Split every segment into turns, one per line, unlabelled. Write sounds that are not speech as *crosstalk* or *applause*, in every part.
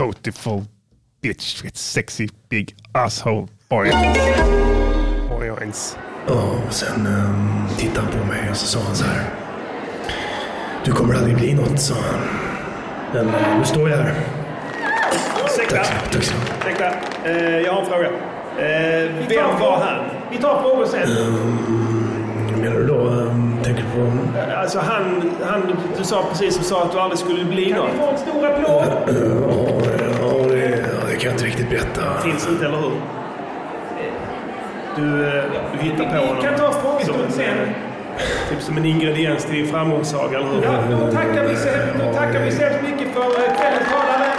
beautiful bitch with sexy big asshole boy. Boy joints.
Och sen um, tittade han på mig och så sa han så här. Du kommer aldrig bli något, sa han. Men eh, nu står jag här.
Ursäkta,
Tack så Tack så
ursäkta. Eh, jag har en fråga. Eh, vem var han?
Vi tar frågor sen.
Menar du då, um, tänker du på...
Eh, Alltså han, han du sa precis som sa att du aldrig skulle
Kan vi
bli något.
få en stor applåd?
eh, Ja, ja, det, ja, det kan jag inte riktigt berätta.
Finns inte, eller hur? Du, eh, du hittar på honom.
Vi kan ta
Som-
frågestunden sen.
Typ som en ingrediens till din framgångssaga, eller hur?
Ja, då tackar vi så hemskt- då tackar vi så hemskt mycket för eh, kvällens talare.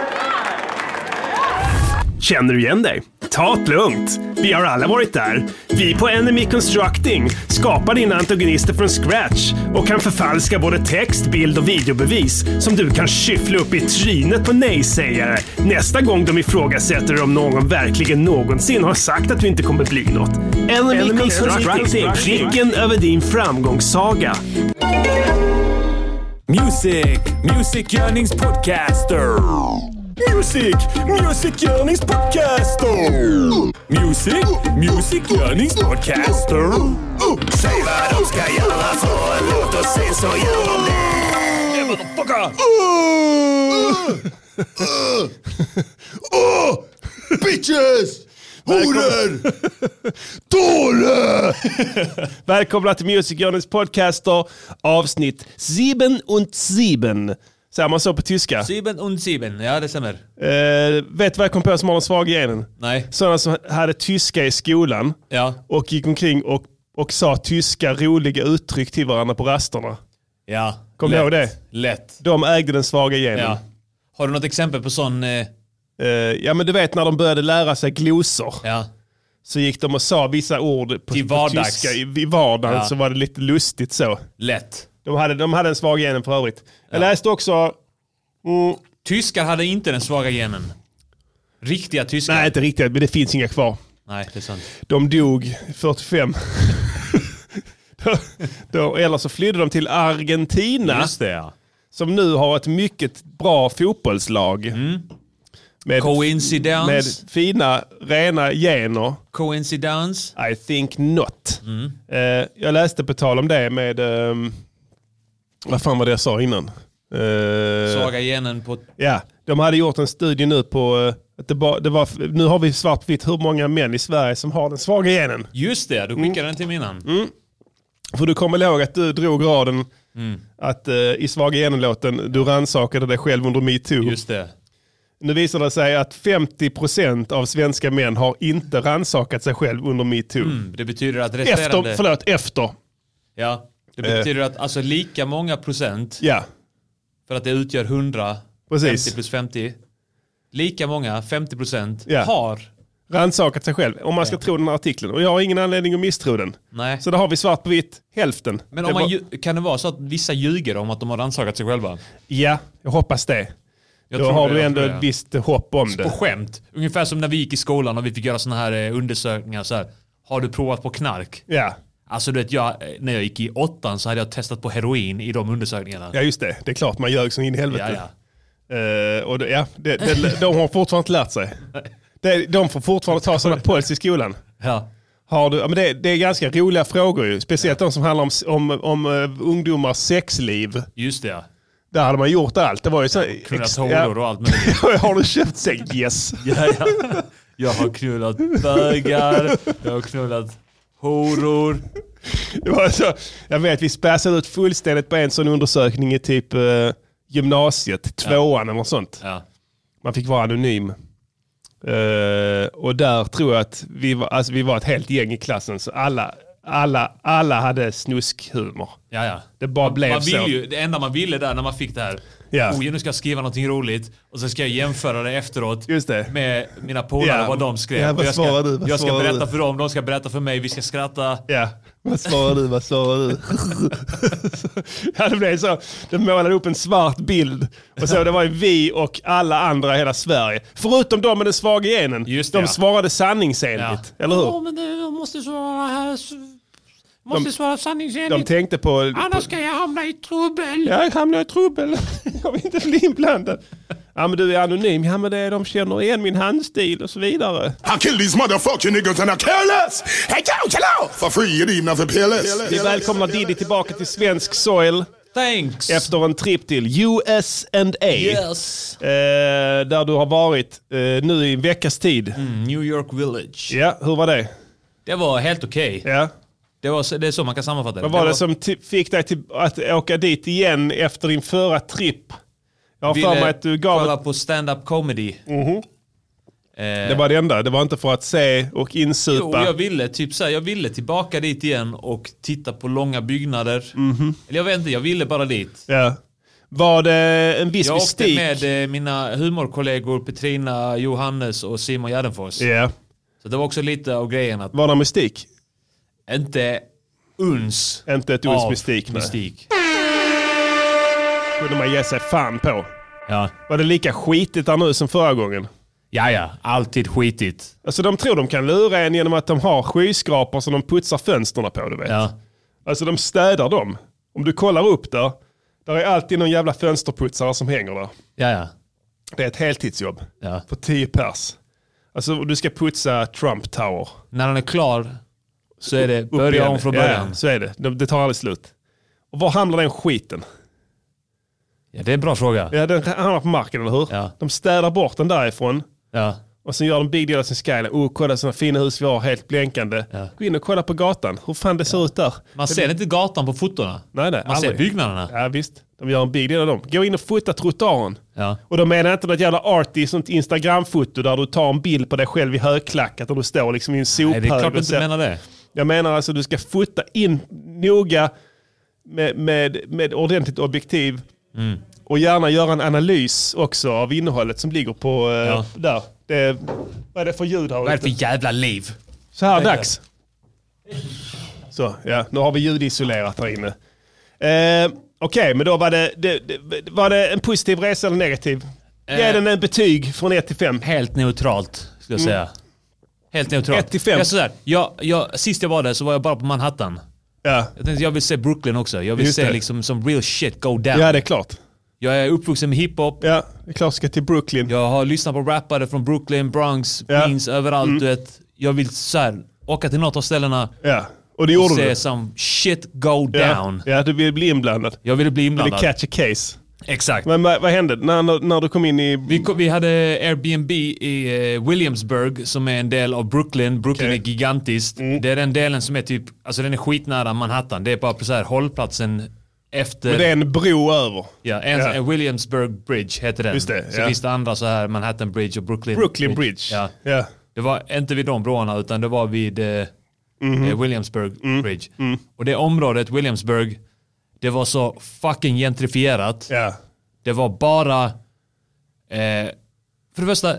Känner du igen dig? Ta det lugnt. Vi har alla varit där. Vi på Enemy Constructing skapar dina antagonister från scratch och kan förfalska både text, bild och videobevis som du kan skyffla upp i trynet på nej-sägare nästa gång de ifrågasätter om någon verkligen någonsin har sagt att du inte kommer bli något. Enemy, Constructing, pricken över din framgångssaga.
Music, musikgörningspodcaster. Music, musikgörningspodcaster. Music, musikgörningspodcaster. Säg vad de ska göra för en låt och sen så gör de det. Motherfucker!
Åh! Bitches! Horor!
*laughs*
Dåre!
Välkomna till Music Journeys podcaster avsnitt Sieben und Sieben. Säger man så på tyska?
Sieben und sieben, ja det stämmer.
Eh, vet du vad jag kom på som har de svaga genen?
Nej.
Sådana som hade tyska i skolan
Ja.
och gick omkring och, och sa tyska roliga uttryck till varandra på rasterna.
Ja.
Kommer du
lätt.
ihåg det? Mm.
Lätt.
De ägde den svaga genen.
Ja.
Ja.
Har du något exempel på sån... Eh,
ja men du vet när de började lära sig glosor
ja.
så gick de och sa vissa ord på,
Till
på
vardags.
tyska i, i vardagen
Ja.
så var det lite lustigt så.
Lätt.
De hade, de hade en svag genen för övrigt. Jag läste också
Tyskar hade inte den svaga genen. Riktiga tyskar.
Nej, inte riktigt, men det finns inga kvar.
Nej, det är sant.
De dog *laughs* 45. de, de, eller så flydde de till Argentina,
Just det ja.
som nu har ett mycket bra fotbollslag. Med,
Mm. Coincidence.
med fina, rena gener.
Coincidence.
I think not.
Mm.
Eh, jag läste på tal om det med, ehm, vad fan var det jag sa innan? Eh,
Svaga genen på...
Ja, de hade gjort en studie nu på eh, att det bara, det var, nu har vi svart på vitt hur många män i Sverige som har den svaga genen.
Just det, du
Mm.
skickade den till mig innan.
För du kommer ihåg att du drog raden
Mm.
att eh, i svaga genen-låten, du rannsakade dig själv under metoo.
Just det.
Nu visar det sig att 50% av svenska män har inte rannsakat sig själv under metoo.
Mm, Det betyder att resterande...
Efter, förlåt, efter.
Ja. Det betyder att alltså lika många procent,
Ja,
för att det utgör 100,
Precis.
50 plus 50, lika många, 50 procent,
Ja.
har...
rannsakat sig själv. Om man ska tro den här artikeln. Och jag har ingen anledning att misstro den.
Nej.
Så där har vi svart på vitt, hälften.
Men
Det
om man,
var-
ju- kan det vara så att vissa ljuger om att de har rannsakat sig själva?
Ja, jag hoppas det.
Jag
Då
tror
har
det,
du
jag
ändå
tror det.
ett visst hopp om
På
det.
skämt. Ungefär som när vi gick i skolan och vi fick göra sådana här eh, undersökningar. Så här, har du provat på knark?
Ja.
Alltså du vet, jag, eh, när jag gick i åttan så hade jag testat på heroin i de undersökningarna.
ja, just det. Det är klart man ljög som in i helvete.
ja, ja.
Eh, och det, ja, det, det, de har fortfarande inte lärt sig. Det, de får fortfarande ta sådana polls i skolan.
ja.
Har du, ja, men det, det är ganska roliga frågor ju. Speciellt de som handlar om, om, om eh, ungdomars sexliv.
Just det ja.
Där hade man gjort allt. Det var ju så,
Knullat
ex-
hålor och
*laughs*
allt möjligt.
*laughs*
ja. Har du köpt sex? Yes.
Ja, ja. Jag har knullat bögar, jag har knullat horor.
Det var så, jag vet, vi späsade ut fullständigt på en sån undersökning i typ eh, gymnasiet, tvåan eller något sånt.
Ja.
Man fick vara anonym. Eh, och där tror jag att vi var, alltså vi var ett helt gäng i klassen. Så alla, alla, alla hade snuskhumor.
Ja, ja.
Det bara blev
Man
så.
vill ju, det enda man ville där när man fick det här.
Ja.
Oj, nu ska jag skriva någonting roligt och sen ska jag jämföra det efteråt
Just det.
med mina polare
Ja.
vad de skrev.
Ja, vad
Och jag ska,
svarar du? Vad
jag ska
svarar
berätta
du?
för dem, de ska berätta för mig, vi ska skratta.
Ja, vad svarar du? Vad svarar du? *laughs* ja, det blev så. De målade upp en svart bild. Och så, det var ju vi och alla andra i hela Sverige. Förutom de med den svaga genen.
Just det,
de
ja.
svarade sanningsenligt. Eller hur?
men du måste svara här. Måste
De-
svara
De
sanningsenligt.
tänkte på...
Annars ska jag hamna i trubbel.
*laughs* Ja, jag hamnar i trubbel. Jag vill inte bli inblandad.
Ja men du är anonym. Ja men det är, de känner igen min handstil och så vidare.
I kill these motherfucking niggas and I care less. Hey, yo, hello! For free and even after
Vi
PLS.
välkomnar Diddy tillbaka till svensk soil
Thanks!
efter en trip till US and A.
Yes!
Eh, där du har varit eh, nu i en veckas tid.
New York Village.
Ja, hur var det?
Det var helt okej.
Ja.
Det, var, så- det är så man kan sammanfatta det.
Vad var det som ti- fick dig till att åka dit igen efter din förra tripp? Jag har för mig att du gav...
kolla på stand-up comedy. Eh,
Det var det enda. Det var inte för att se och
Jo,
insupa.
jag ville typ så här, jag ville tillbaka dit igen och titta på långa byggnader. Eller jag vet inte, jag ville bara dit.
Ja. Var det en viss
Jag åkte
mystik?
med eh, mina humorkollegor Petrina, Johannes och Simon Gärdenfors.
Ja.
Så det var också lite av grejen att
Var det mystik?
inte uns
Inte ett uns
av
mystik. nej.
mystik.
kunde man ge sig fan på.
Ja.
Var det lika skitigt där nu som förra gången?
ja, ja, alltid skitigt.
Alltså de tror de kan lura en genom att de har skyskrapor som de putsar fönstren på, du vet.
Ja.
Alltså de städar dem. Om du kollar upp där, där är alltid någon jävla fönsterputsare som hänger där.
Ja, ja.
Det är ett heltidsjobb.
Ja.
För 10 pers. Alltså du ska putsa Trump Tower.
När han är klar så är det
Upp
börja
igen.
om från
Ja,
början.
Ja, så är det. Det, det tar aldrig slut. Och var hamnar den skiten?
Ja, det är en bra fråga.
Ja, den hamnar på marken, eller hur?
Ja.
De städar bort den därifrån.
Ja.
Och sen gör de Big Deal av sin skyline. Oh, kolla sådana fina hus vi har, helt blänkande.
Ja.
Gå in och kolla på gatan, hur fan det ser ut där.
Man ser inte gatan på fotona.
Nej, nej,
Man ser
aldrig.
byggnaderna.
Ja visst, de gör en Big Deal av dem. Gå in och fota trottoaren.
Ja.
Och då menar jag inte något jävla arty, sånt Instagram-foto där du tar en bild på dig själv i högklackat och du står liksom i en sophög.
Nej, det är klart
och
du inte
ser-
menar det.
Jag menar alltså du ska fota in noga med, med, med ordentligt objektiv. Och gärna göra en analys också av innehållet som ligger på eh,
Ja.
där. Det, vad är det för ljud här
Vad är det för jävla liv?
Så här dags. Så, ja. Nu har vi ljudisolerat här inne. Eh, Okej, men då var det, det, det, var det en positiv resa eller negativ? Ge
Eh.
den en betyg från 1 till 5.
Helt neutralt, skulle jag säga. Helt neutralt.
Mm. Ett till fem.
Jag, är sådär, jag, jag, sist jag var där så var jag bara på Manhattan.
Ja.
Jag tänkte jag vill se Brooklyn också. Jag vill
Just
se
det.
liksom som real shit go down.
ja, det är klart.
Jag är uppvuxen med hiphop.
Ja, det är klart ska till Brooklyn.
Jag har lyssnat på rappare från Brooklyn, Bronx,
Ja. Mm.
Queens, överallt. Du vet. Jag vill såhär, åka till något av ställena
Ja. Och det
och
gjorde
se
du.
som shit go
Ja.
down.
ja, du ville bli inblandad.
Jag ville bli
Du ville
inblandad.
catch a case.
Exakt.
Men vad, vad hände när, när, när du kom in i...
Vi, kom, vi hade Airbnb i eh, Williamsburg som är en del av Brooklyn. Brooklyn är gigantiskt.
Mm.
Det är den delen som är typ, alltså den är skitnära Manhattan. Det är bara på så här hållplatsen efter,
Men det är en bro över.
ja, en,
ja.
en Williamsburg Bridge heter den.
Just det,
Så
ja.
finns det andra så här Manhattan Bridge och Brooklyn
Brooklyn Bridge.
Ja.
Ja.
Det var inte vid de broarna utan det var vid eh,
Mhm.
eh, Williamsburg
Mm.
Bridge. Och det området, Williamsburg, det var så fucking gentrifierat.
Ja.
Det var bara... Eh, för det första...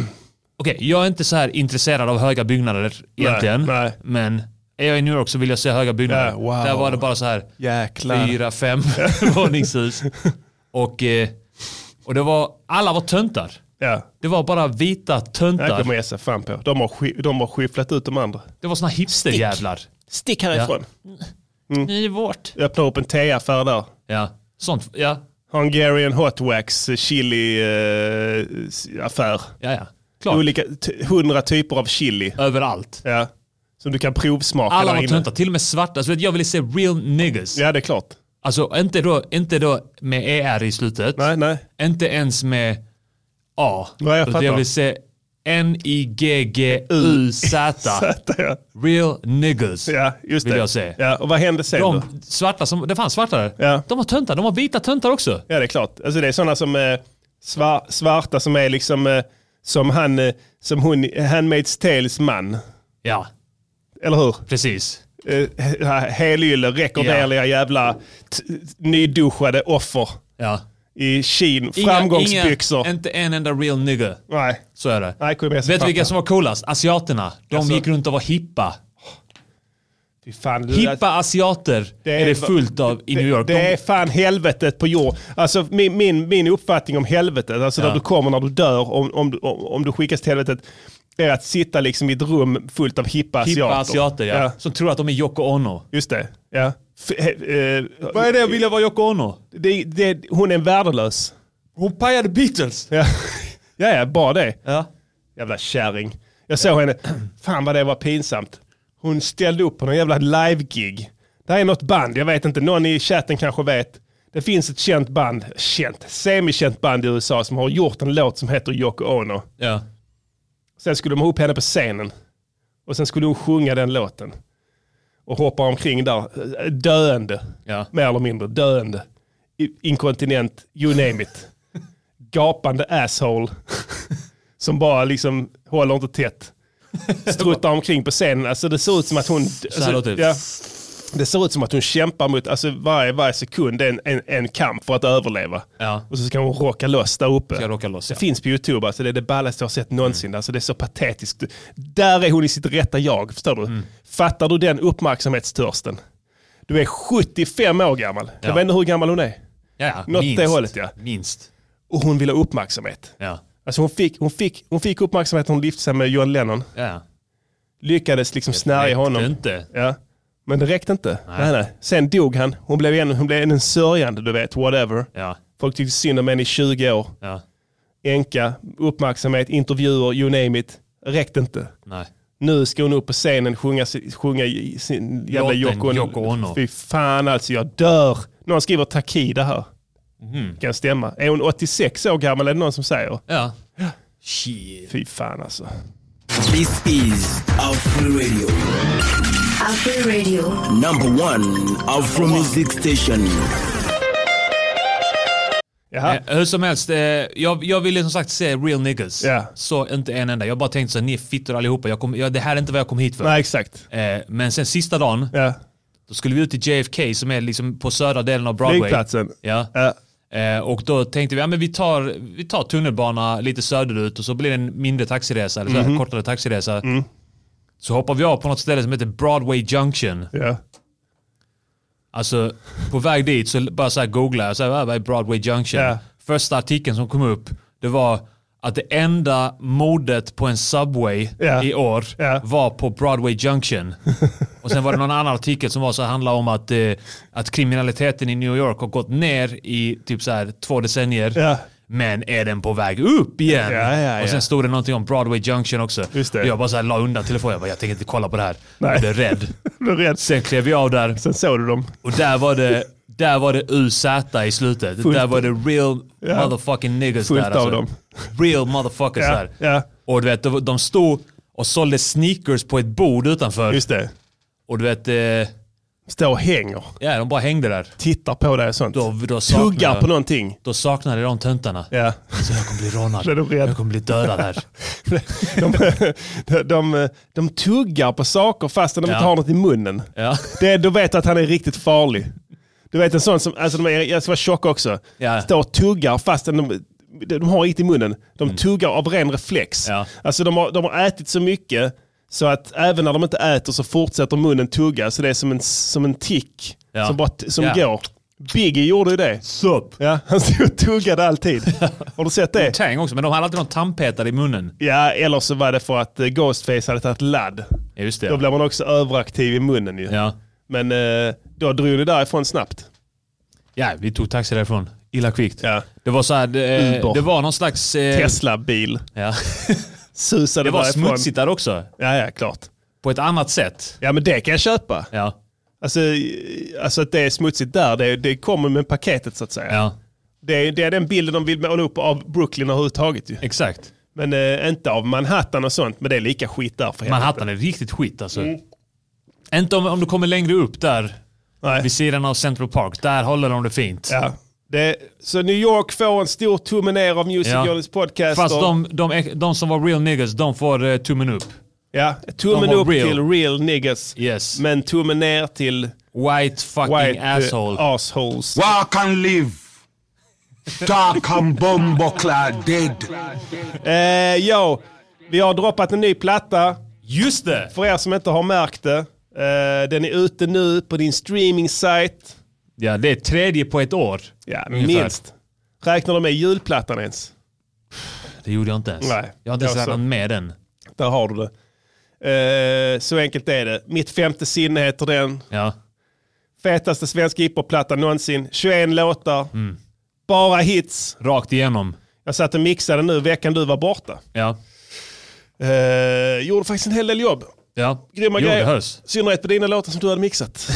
*clears throat* Okej, jag är inte så här intresserad av höga byggnader egentligen.
nej.
Men är jag i New York så vill jag se höga byggnader.
Ja, wow.
Där var det bara så här
Jäklar.
fyra, fem *laughs* våningshus. Och, eh, och det var, alla var töntar.
Ja.
Det var bara vita
Det här kommer
töntar.
jag se fan på. De har, sk- de har skyfflat ut de andra.
Det var såna hipsterjävlar.
Stick härifrån.
Ni är vårt.
Öppna upp en teaffär där.
Ja, sånt. Ja,
Hungarian Hot Wax eh, chili eh, s- affär.
ja, ja. Klart.
Olika, t- hundra typer av chili.
Överallt.
Ja. Som du kan provsmaka
Alla
där
var
inne.
töntar. Till och med svarta. Alltså, vet du, jag ville se real niggas.
Ja, det är klart.
Alltså inte då, inte då med ER i slutet.
Nej, nej.
Inte ens med A.
Nej, jag
Utan
fattar.
jag vill se
*laughs*
N-I-G-G-U-Z.
Söta, ja.
Real niggas.
ja, just
Vill
det.
jag se.
Ja, och vad hände sen då?
De svarta som, det fanns svarta där.
Ja.
De var töntar, de var vita töntar också.
Ja, det är klart. Alltså det är sådana som eh, svar, svarta som är liksom eh, som han, eh, som hon, i Handmaid's Tales man.
Ja,
Eller hur?
precis.
Eh, he- Helylle, rekorderliga jävla t- nyduschade offer
Ja.
i kin,
Inga-
framgångsbyxor.
Inga, inte en enda real nigga.
Nej,
Så är det.
nej, kommer jag
Vet du vilka som var coolast? Asiaterna. De
Alltså-
gick runt och var hippa.
Fy fan, du,
Hippa asiater
Det är-
är det fullt av i New York.
Det, det är fan helvetet på jord. Alltså min, min, min uppfattning om helvetet, alltså där
Ja.
du kommer när du dör, om, om, du- om, om du skickas till helvetet, är att sitta liksom i ett rum fullt av hippa
De,
asiater.
hippa asiater, ja. Som tror att de är Yoko Ono.
Just det. Ja. F- he- eh,
Vad är det? Vill jag vara Yoko Ono?
det, det, hon är värdelös.
Hon pajade Beatles.
Ja, *laughs* ja, ja bara det.
Ja.
Jävla kärring. Jag såg henne, fan vad det var pinsamt. Hon ställde upp på någon jävla live-gig. Det här är något band, jag vet inte, någon i chatten kanske vet. Det finns ett känt band, känt, semikänt band i USA som har gjort en låt som heter Yoko Ono.
Ja.
Sen skulle de ha upp henne på scenen. Och sen skulle hon sjunga den låten. Och hoppa omkring där, eh, döende.
Ja.
Mer eller mindre döende. I- Inkontinent, you name it. Gapande asshole. Som bara liksom håller inte tätt. Struttar omkring på scenen. Alltså det ser ut som att hon...
här
alltså,
låter det.
ja, det ser ut som att hon kämpar mot, alltså varje, varje sekund är en, en, en kamp för att överleva.
Ja.
Och så ska hon råka loss där uppe.
Ska råka loss, ja. Mm.
Det finns på YouTube, alltså det är det ballaste jag har sett någonsin. Alltså det är så patetiskt. Där är hon i sitt rätta jag, förstår du?
Mm.
Fattar du den uppmärksamhetstörsten? Du är 75 år gammal. Jag
Ja.
vet inte hur gammal hon är.
Ja, ja.
Något det hållet, ja.
Minst.
Och hon vill ha uppmärksamhet.
Ja.
Alltså hon fick, hon fick, hon fick uppmärksamhet när hon lyfte sig med John Lennon.
ja.
Lyckades liksom snärja honom.
Det inte.
Ja. Men det räckte inte. Nej. Nej, Sen dog han. Hon blev ännu hon blev en sörjande, du vet, whatever.
Ja.
Folk tyckte synd om henne i 20 år.
Ja.
Enka, uppmärksamhet, intervjuer, you name it. Räckte inte.
Nej.
Nu ska hon upp på scenen sjunga, si- sjunga i sin jävla
Låten
Yoko
Yoko Ono.
Fy fan alltså, jag dör. Någon skriver Takida här.
Mhm.
Kan stämma. Är hon 86 år gammal är det någon som säger.
Ja. Shit.
Fy fan alltså.
This is Afro Radio,
Afro Radio.
number one Afro music station.
Jaha.
Eh, hur som helst, eh, jag, jag ville som sagt se real niggas.
Ja.
Så inte en enda. Jag bara tänkte så här, ni är fittor allihopa. Jag kom, jag, det här är inte vad jag kom hit för.
Nej exakt.
Eh, men sen sista dagen,
Ja.
då skulle vi ut till JFK som är liksom på södra delen av Broadway.
Flygplatsen.
Ja.
Ja.
Eh, och då tänkte vi, ja men vi tar, vi tar tunnelbana lite söderut och så blir det en mindre taxiresa, eller så
Mhm.
här, kortare taxiresa.
Mm.
Så hoppar vi av på något ställe som heter Broadway Junction.
Ja.
Alltså på väg dit så bara så här googlade jag, så här, "Ah, vad är Broadway Junction?
Ja.
Första artikeln som kom upp, det var att det enda mordet på en Subway
Ja.
i år
Ja.
var på Broadway Junction. Och sen var det någon annan artikel som var så här, handlade om att, eh, att kriminaliteten i New York har gått ner i typ så här två decennier.
Ja.
Men är den på väg upp igen?
Ja, ja,
Och
ja.
sen stod det någonting om Broadway Junction också.
Just det.
Och Jag bara så här la undan telefonen. Jag bara, jag tänker inte kolla på det här.
Nej.
Jag blev
*laughs*
rädd.
Blev rädd.
Sen klev jag av där.
Sen såg du dem.
Och där var det, där var det UZ i slutet. där var det real motherfucking niggas
Fullt
där. alltså.
av dem.
Real motherfuckers
Ja,
där.
ja.
Och du vet, de- de stod och sålde sneakers på ett bord utanför.
Just det.
Och du vet, eh,
Står och hänger.
ja de bara hängde där.
Tittar på dig och sånt.
Då,
Tuggar
då, saknade,
på någonting.
då saknade de töntarna.
Ja.
Så jag kommer bli rånad.
Blev du rädd?
Jag kommer bli
*laughs*
dödad här.
De, de, *laughs* de, de tuggar på saker fastän de
Ja.
inte har något i munnen.
Ja.
Det, då vet du att han är riktigt farlig. Du vet en sån som, alltså de är, jag ska vara tjock också,
Ja.
står och tuggar fastän de, de har inget i munnen. De tuggar av ren reflex.
Mm. Ja.
Alltså de har, de har ätit så mycket så att även när de inte äter så fortsätter munnen tugga. Så det är som en, som en tick
Ja.
som, bara, t- som
Ja.
går. Biggie gjorde ju det.
Sup.
Ja, *laughs* han stod och tuggade alltid. Har du sett
*laughs*
det?
Tang också, men de hade alltid någon tandpetare i munnen.
Ja, eller så var det för att eh, Ghostface hade tagit ladd.
Ja, just det.
Då blev man också överaktiv i munnen ju.
Ja.
Men eh, då drog det därifrån snabbt.
ja, vi tog taxi därifrån. Illa kvickt.
Ja.
Det var så här, det,
Uber.
eh, det var någon slags... eh,
Tesla-bil
Ja.
*laughs* susade
Det var
därifrån.
smutsigt där också.
Ja, ja, klart.
På ett annat sätt.
Ja, men det kan jag köpa.
Ja.
Alltså, eh, alltså att det är smutsigt där, det, det kommer med paketet så att säga.
ja.
Det, är- det är den bilden de vill måla upp av Brooklyn överhuvudtaget ju.
Exakt.
Men eh, inte av Manhattan och sånt, men det är lika skit där för helvete.
Manhattan är riktigt skit alltså.
Mm.
Inte om, om du kommer längre upp där.
Nej.
Vid sidan av Central Park. Där håller de det fint.
Ja. Det, så New York får en stor tumme ner av Music
Ja.
Journeys podcast.
Fast
och-
de, de, de som var real niggas, de får eh, tummen upp.
Ja, tummen
De var
upp
real.
till real niggas.
Yes.
Men tummen ner till
White fucking
white eh,
asshole.
assholes.
Walk and live. Dark and bumbleclad dead.
Eh, jo, vi har droppat en ny platta.
Just det!
För er som inte har märkt det. Eh, den är ute nu på din streaming-sajt.
Ja, det är tredje på ett år.
Ja,
Ungefär.
minst. Räknar de med julplattan ens?
Det gjorde jag inte ens.
Nej.
Jag har inte
Jag
ens
så.
laddat med den.
Där har du det. Eh, så enkelt är det. Mitt femte sinne heter den.
Ja.
Fetaste svenska hiphop-plattan någonsin. 21 låtar.
Bara hits.
Rakt igenom.
Jag satt och mixade nu veckan du var borta.
Ja.
Eh, gjorde faktiskt en hel del jobb.
Ja.
Grymma
jo,
grejer.
det hörs.
I synnerhet på dina låtar som du hade
*laughs*
mixat.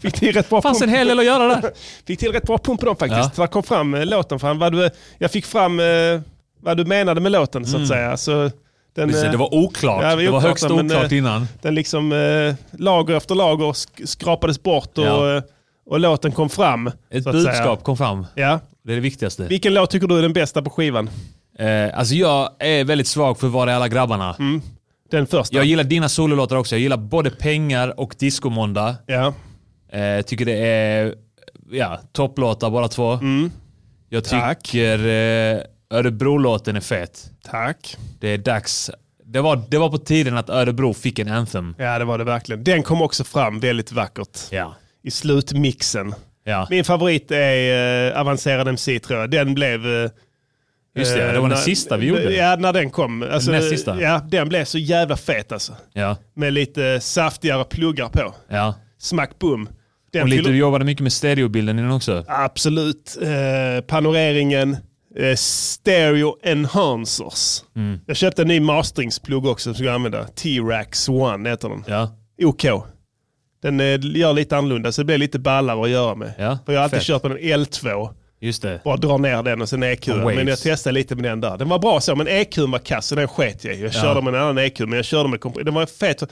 Fick till rätt bra
fanns en
pump.
hel del att göra där.
Fick till rätt bra pump på dem faktiskt. Vad kom fram eh, låten fram. Vad du, jag fick fram eh, vad du menade med låten
Mm.
så att säga. Så den,
Precis,
eh,
det var oklart.
Ja, det var
det var
oklart,
högst
men, eh,
oklart innan.
den liksom eh, lager efter lager sk- skrapades bort och, eh,
Ja.
och låten kom fram.
Ett
så att säga.
budskap kom fram.
Ja.
Det är det viktigaste.
Vilken låt tycker du är den bästa på skivan?
Eh, alltså jag är väldigt svag för Var är alla grabbarna?
Mm. Den första?
Jag gillar dina sololåtar också. Jag gillar både Pengar och Discomåndag.
ja.
Eh, tycker det är ja, topplåtar bara två. Jag
Mm. Tack.
tycker eh, Örebro-låten är fet.
Tack.
Det är dags. Det var, det var på tiden att Örebro fick en anthem.
Ja det var det verkligen. Den kom också fram väldigt vackert
Ja.
i slutmixen.
ja.
Min favorit är eh, Avancerad MC tror jag. Den blev... eh,
Just det, det var
eh,
den
när-
sista vi gjorde.
Ja, när den kom. Alltså,
Näst sista.
Ja, den blev så jävla fet alltså.
Ja.
Med lite saftigare pluggar på.
ja.
Smack boom. Den
Och lite,
fyller-
du jobbade mycket med stereobilden innan också.
Ah. Absolut. Eh, panoreringen, eh, stereo enhancers.
Mm.
Jag köpte en ny masteringsplugg också som jag ska använda. T-Rax One heter den.
Ja.
OK. Den eh, gör lite annorlunda så det blir lite ballare att göra med.
Ja,
För jag har alltid
fett.
kört på den L2.
Just det.
Bara drar ner den och sen EQ.
Och waves.
Men jag testade lite med den där. Den var bra så, men EQ var kass så den sket jag i. Jag körde med en annan EQ, men jag körde med kompressor. Den var fet.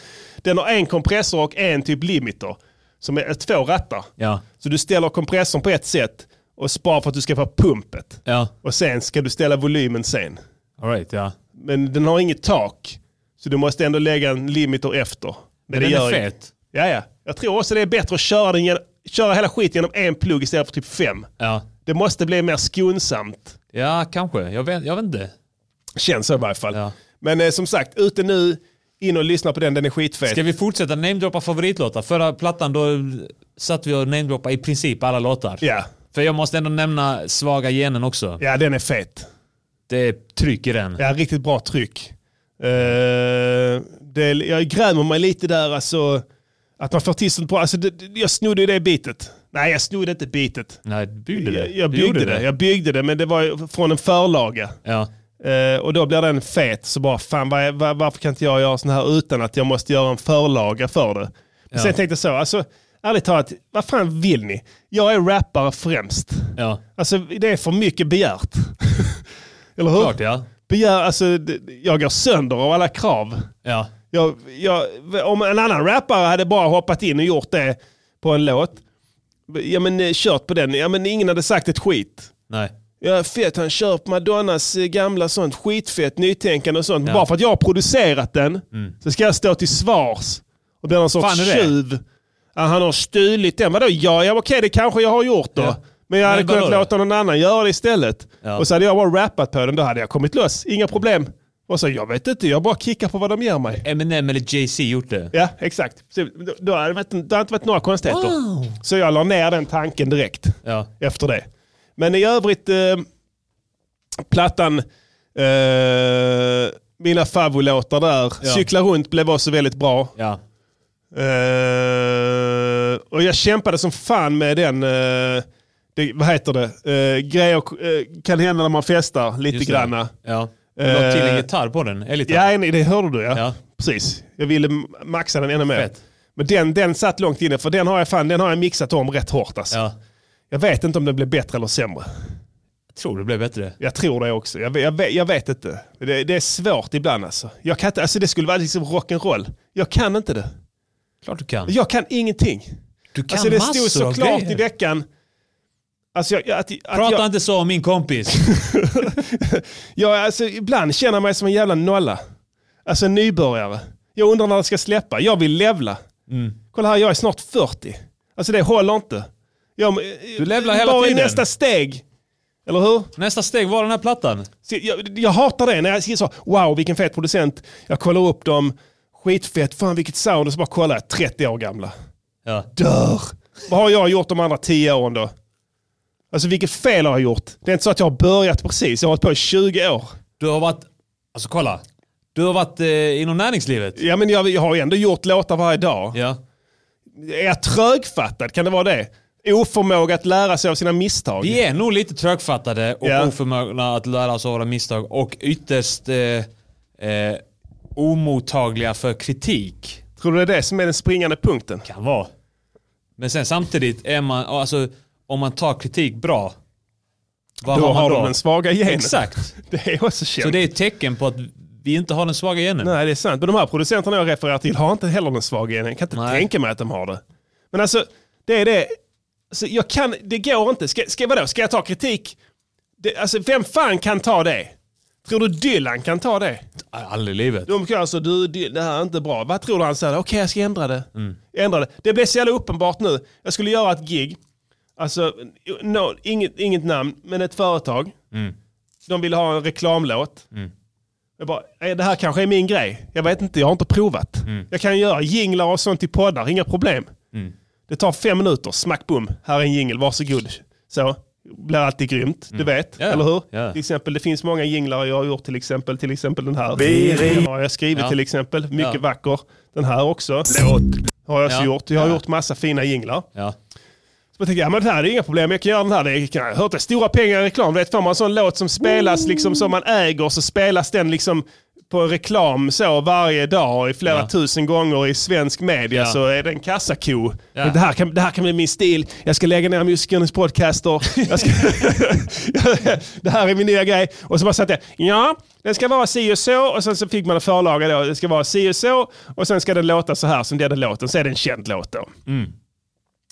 Den har en kompressor och en typ limiter. Som är två rattar.
Ja.
Så du ställer kompressorn på ett sätt och sparar för att du ska få pumpet.
Ja.
Och sen ska du ställa volymen sen.
All right, ja.
Men den har inget tak. Så du måste ändå lägga en limiter efter. Men
den är
inget.
fet.
Ja, ja. Jag tror också det är bättre att köra, den gen- köra hela skiten genom en plugg istället för typ fem.
Ja.
Det måste bli mer skonsamt.
Ja, kanske. Jag vet, jag vet inte.
Känns så i varje fall.
Ja.
Men eh, som sagt, ute nu, in och lyssna på den, den är skitfet.
Ska vi fortsätta namedroppa favoritlåtar? Förra plattan då satt vi och namedroppade i princip alla låtar.
Ja.
För jag måste ändå nämna Svaga genen också.
ja, den är fet.
Det är tryck i den.
Ja, riktigt bra tryck. Eh, det, jag grämer mig lite där, alltså, att man får till sånt bra. Alltså, det, det- jag snodde ju det bitet. Nej, jag snodde inte bitet.
Nej, du byggde det.
Jag, jag
Du
byggde
gjorde
det. Jag byggde det, men det var ju från en förlaga.
Ja.
Eh, och då blir den fet, så bara fan var, var, varför kan inte jag göra sån här utan att jag måste göra en förlaga för det. Men Sen tänkte jag så, alltså ärligt talat, vad fan vill ni? Jag är rappare främst.
Ja.
Alltså det är för mycket begärt. *laughs* Eller hur?
Klart ja.
Begär, alltså, det- jag går sönder av alla krav.
Ja.
Jag, jag, om en annan rappare hade bara hoppat in och gjort det på en låt, ja men eh, kört på den, ja men ingen hade sagt ett skit.
Nej.
Ja, fett, han kör på Madonnas eh, gamla sånt skitfett nytänkande och sånt. Bara för att jag har producerat den så ska jag stå till svars. Och bli någon sorts
Mm. Fan, är det?
tjuv. Ja, han har stulit den. Vadå? Ja, ja okej det kanske jag har gjort då.
Ja.
Men jag hade
Men vadå
kunnat
då?
låta någon annan göra det istället.
Ja.
Och så hade jag bara rappat på den, då hade jag kommit loss. Inga problem. Och så, jag vet inte, jag bara kickar på vad de ger mig.
Eminem eller Jay-Z gjort det.
Ja, exakt. Så, då, då hade det, varit, det hade inte varit några konstigheter. Så jag la ner den tanken direkt
Ja.
efter det. Men i övrigt, eh, plattan, eh, mina favvolåtar där. Cykla runt blev också väldigt bra.
Ja.
Eh, och jag kämpade som fan med den, eh, det, vad heter det, eh, grejer eh, kan hända när man festar lite
Just det.
granna.
Ja. Du la till en
Eh,
gitarr på den. Elgitarr.
Ja, nej, det hörde du ja.
Ja.
Precis. Jag ville m- maxa den ännu mer.
Fett.
Men den, den satt långt inne, för den har jag, fan, den har jag mixat om rätt hårt. Alltså.
ja.
Jag vet inte om den blev bättre eller sämre.
Jag tror det blev bättre.
Jag tror det också. Jag, ve- jag, ve- jag vet inte. Det, det är svårt ibland alltså. Jag kan inte, alltså det skulle vara liksom rock'n'roll. Jag kan inte det.
Klart du kan.
Jag kan ingenting.
Du kan
Alltså det stod
massor av
såklart
grejer.
i veckan. Alltså jag, jag- att, att
Prata
jag,
inte så om min kompis.
jag, alltså ibland känner jag mig som en jävla nolla. Alltså en nybörjare. Jag undrar när det ska släppa. Jag vill levla.
Mm.
Kolla här, jag är snart 40. Alltså det håller inte. Jag, du
levlar hela
Bara i
tiden.
nästa steg. Eller hur?
Nästa steg var den här plattan.
Så Jag, jag hatar det när jag ser så, wow vilken fet producent. Jag kollar upp dem, skitfett, fan vilket sound. Och så bara kollar jag, 30 år gamla.
Ja.
Dör! Vad har jag gjort de andra 10 åren då? Alltså vilket fel har jag gjort? Det är inte så att jag har börjat precis, jag har hållit på i 20 år.
Du har varit... Alltså kolla. Du har varit eh, inom näringslivet.
Ja men jag, jag har ju ändå gjort låtar varje dag.
Ja.
Är jag trögfattad? Kan det vara det? Oförmåga att lära sig av sina misstag.
Vi är nog lite trögfattade och
Ja.
oförmögna att lära oss av våra misstag och ytterst eh, eh, omottagliga för kritik.
Tror du det är det som är den springande punkten?
Kan vara. Men sen samtidigt är man, alltså om man tar kritik bra. Vad
Då
har man
har
då?
de den svaga genen.
Exakt.
Det är också känt.
Så det är ett tecken på att vi inte har den svaga genen.
Nej, det är sant. Men de här producenterna jag refererar till har inte heller den svaga genen. Jag kan inte
Nej.
tänka mig att de har det. Men alltså, det är det. Alltså, jag kan, det går inte. Ska, ska, vadå, ska jag ta kritik? Det, alltså, vem fan kan ta det? Tror du Dylan kan ta det?
Aldrig i livet.
De kan alltså, du, Dy- det här är inte bra. Vad tror du han säger? Okej, jag ska ändra det. Jag ändrar det. Det blev så jävla uppenbart nu. Jag skulle göra ett gig. Alltså, no, inget, inget namn, men ett företag.
Mm.
De ville ha en reklamlåt. Jag bara, "Eh, det här kanske är min grej. Jag vet inte, jag har inte provat.
Mm.
Jag kan göra jinglar och sånt till poddar, inga problem. Det tar fem minuter, smack bum. Här är en jingel, varsågod. Så, blir alltid grymt, du vet.
Mm. Ja,
Eller hur?
ja.
Till exempel, det finns många jinglar jag har gjort, till exempel, till exempel den här. Den har jag skrivit
Ja.
till exempel, mycket
Ja.
vacker. Den här också. Har jag också
Ja.
gjort. Jag har
Ja.
gjort massa fina jinglar.
Ja.
Så jag tänkte, ja men det här är inga problem, jag kan göra den här. Det är, jag har hört det, stora pengar i reklam. Du vet, får man en sån låt som spelas liksom som man äger så spelas den liksom på reklam så varje dag i flera
Ja.
tusen gånger i svensk media
Ja.
så är det en kassako.
Ja.
Men Det, här kan, det här kan bli min stil, jag ska lägga ner musikernas podcaster. Jag ska, *laughs* det här är min nya grej. Och så bara satt jag, ja den ska vara si och så och sen så fick man en förlaga då. Det ska vara si och så och sen ska den låta så här som den låten. Så är det en känd låt då.
Mm.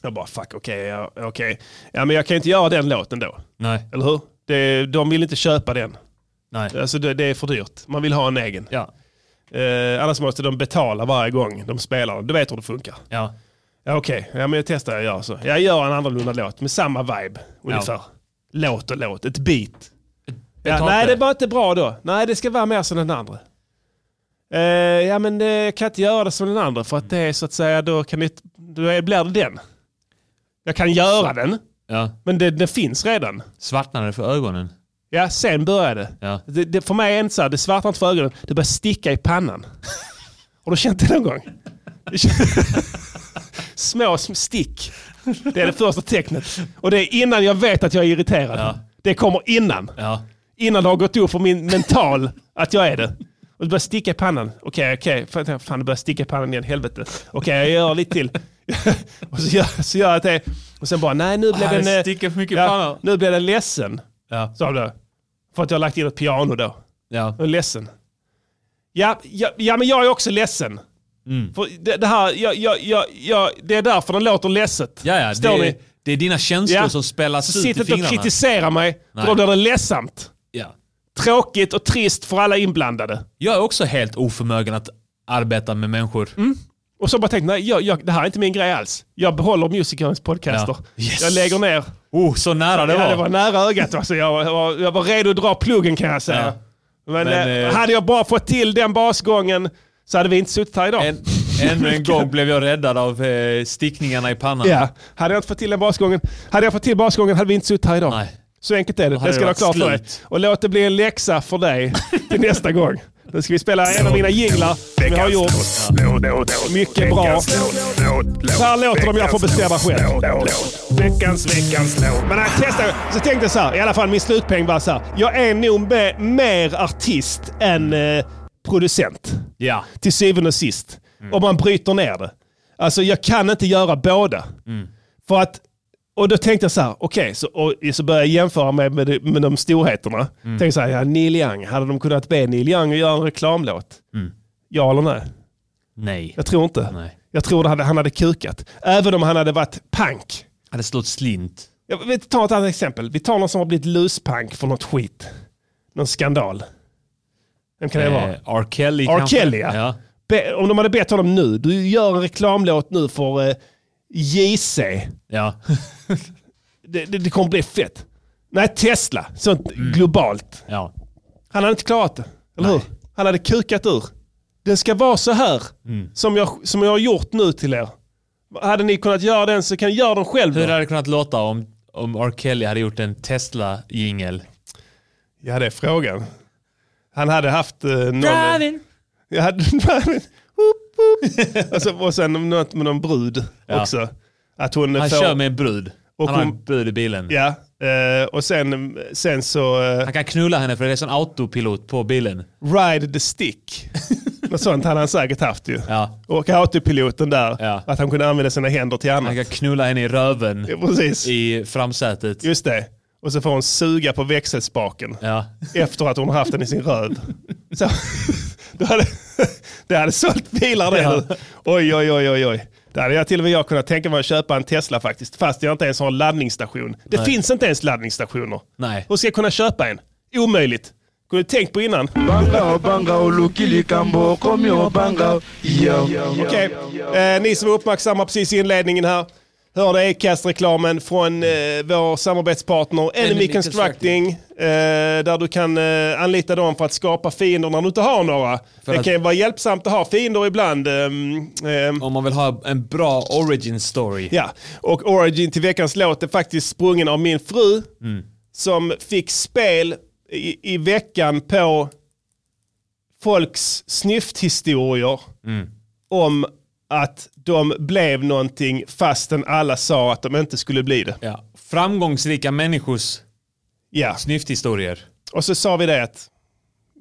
Jag bara fuck, okej, ja, okej. Ja men jag kan inte göra den låten då,
Nej.
eller hur? Det, de vill inte köpa den.
Nej.
Alltså det, det är för dyrt. Man vill ha en egen.
Ja.
Eh, annars måste de betala varje gång de spelar den. Du vet hur det funkar.
Ja.
Ja okej, ja men jag testar, jag gör så. Jag gör en annorlunda låt med samma vibe ungefär. Låt och låt, ett beat. Ja,
tar
nej
inte.
det var inte bra då. Nej det ska vara mer som den andra. Eh, ja men eh, jag kan inte göra det som den andra för att det är så att säga, då, kan det, då är- blir det den. Jag kan göra den,
Ja.
men det, det finns redan.
Svartnade det för ögonen.
Ja, sen börjar det.
Ja.
det, det för mig är det inte så här, det svartnar inte för ögonen, det börjar sticka i pannan. Har du känt det någon gång? Det kän- *laughs* Små sm- stick. Det är det första tecknet. Och det är innan jag vet att jag är irriterad.
Ja.
Det kommer innan.
Ja.
Innan det har gått upp för min mental att jag är det. Och det börjar sticka i pannan. Okej, okej. Fan, Fan, det börjar sticka i pannan igen. Helvete. Okej, jag gör lite till. *laughs* och så gör, så gör jag det. Och sen bara, nej nu blev
Ah, det
den... eh,
sticker för mycket i pannan.
ja, nu blev den ledsen.
Ja.
Sa du. För att jag har lagt in ett piano då.
Ja.
Jag är ledsen. Ja, ja, ja men jag är också ledsen.
Mm.
För det, det, här, jag, jag, jag, jag, det är därför den låter ledset.
Ja, ja.
Står
Det,
ni?
är, det är dina känslor
Ja.
som spelas
Så
ut i
sitt inte och
fingrarna.
kritisera mig,
Nej.
för då blir det ledsamt.
ja.
Tråkigt och trist för alla inblandade.
Jag är också helt oförmögen att arbeta med människor.
Mm. Och så bara tänkt, nej jag, jag, det här är inte min grej alls. Jag behåller musikerns podcaster.
Ja. Yes.
Jag lägger ner.
Oh, så nära det
Ja,
var.
det var nära ögat. Alltså. Jag, jag, var- jag var redo att dra pluggen kan jag säga.
Ja.
Men,
Men,
eh,
eh,
hade jag bara fått till den basgången så hade vi inte suttit här idag.
En, ännu
*laughs*
en gång blev jag räddad av eh, stickningarna i pannan.
Ja, hade jag inte fått till den basgången, hade jag fått till basgången hade vi inte suttit här idag.
Nej.
Så enkelt är det.
hade
Det ska du
det
ha klart
varit
för dig.
slut.
Och låt det bli en läxa för
*laughs*
dig till nästa gång. Nu ska vi spela en av mina jinglar som jag har gjort. Mycket bra. Så här låter de, jag får bestämma själv.
Veckans, veckans låt.
Men när jag testade, så tänkte jag så här, i alla fall min slutpeng var så här. Jag är nog be, mer artist än eh, producent.
Ja.
Till syvende och sist.
Mm.
Om man bryter ner det. Alltså jag kan inte göra båda.
Mm.
För att, och då tänkte jag så här, okej, så, och, så började jag jämföra med, med, de- med de storheterna.
Mm.
Tänkte så här, ja, Neil Young, hade de kunnat be Neil Young att göra en reklamlåt? Ja eller nej?
Nej.
Jag tror inte.
Mm. Nej.
Jag tror att han hade- han hade kukat. Även om han hade varit punk.
Hade slått slint.
Jag vill ta ett annat exempel. Vi tar någon som har blivit luspank för något skit. Någon skandal. Vem kan det vara?
Eh, R. Kelly
R.
kanske?
Kelly, ja.
ja.
Be, om de hade bett honom nu, du gör en reklamlåt nu för eh, JC.
Ja. *laughs*
Det, det, det kommer bli fett. Nej, Tesla. Sånt
Mm.
globalt.
ja.
Han hade inte klarat det, eller hur? Han hade kukat ur. Den ska vara så här,
Mm.
som, jag, som jag har gjort nu till er. Hade ni kunnat göra den så kan göra den själv.
Hur
då.
hade det kunnat låta om, om R. Kelly hade gjort en Tesla-jingel?
Ja, det är frågan. Han hade haft eh, någon... Jag hade... *laughs* Hopp,
*laughs*
hopp. och, så, och sen något med någon brud
Ja.
också. Att hon
Han
får,
kör med en brud.
Och
Han har
hon,
ett bud i bilen.
ja, eh, och sen, sen så eh,
Han kan knulla henne för det är sån autopilot på bilen.
Ride the stick. Något sånt hade han säkert haft ju.
Ja.
Och autopiloten där,
Ja.
att han kunde använda sina händer till annat.
Han kan knulla henne i röven
Ja, Precis,
i framsätet.
just det. Och så får hon suga på växelspaken
Ja.
efter att hon har haft den i sin röv. Så, du hade, det hade sålt bilar det.
Ja.
nu. Oj, oj, oj, oj, oj. Där hade jag till och med jag kunnat tänka mig att köpa en Tesla faktiskt. Fast jag inte ens har en laddningsstation. Det finns inte ens laddningsstationer.
Nej.
Hur ska jag kunna köpa en? Omöjligt. Kunde du tänkt på innan? Okej, eh, ni som är uppmärksamma precis i inledningen här. Hörde Acast-reklamen från eh, vår samarbetspartner Enemy
Enemy
Constructing. Eh, där du kan eh, anlita dem för att skapa fiender när du inte har några. det
att-
kan ju vara hjälpsamt att ha fiender ibland. ehm, ehm,
Om man vill ha en bra origin story.
Ja, och origin till veckans låt är faktiskt sprungen av min fru som fick spel i, i veckan på folks snyfthistorier om att de blev någonting fastän alla sa att de inte skulle bli det.
Ja. Framgångsrika människors
Ja,
snyfthistorier.
och så sa vi det att,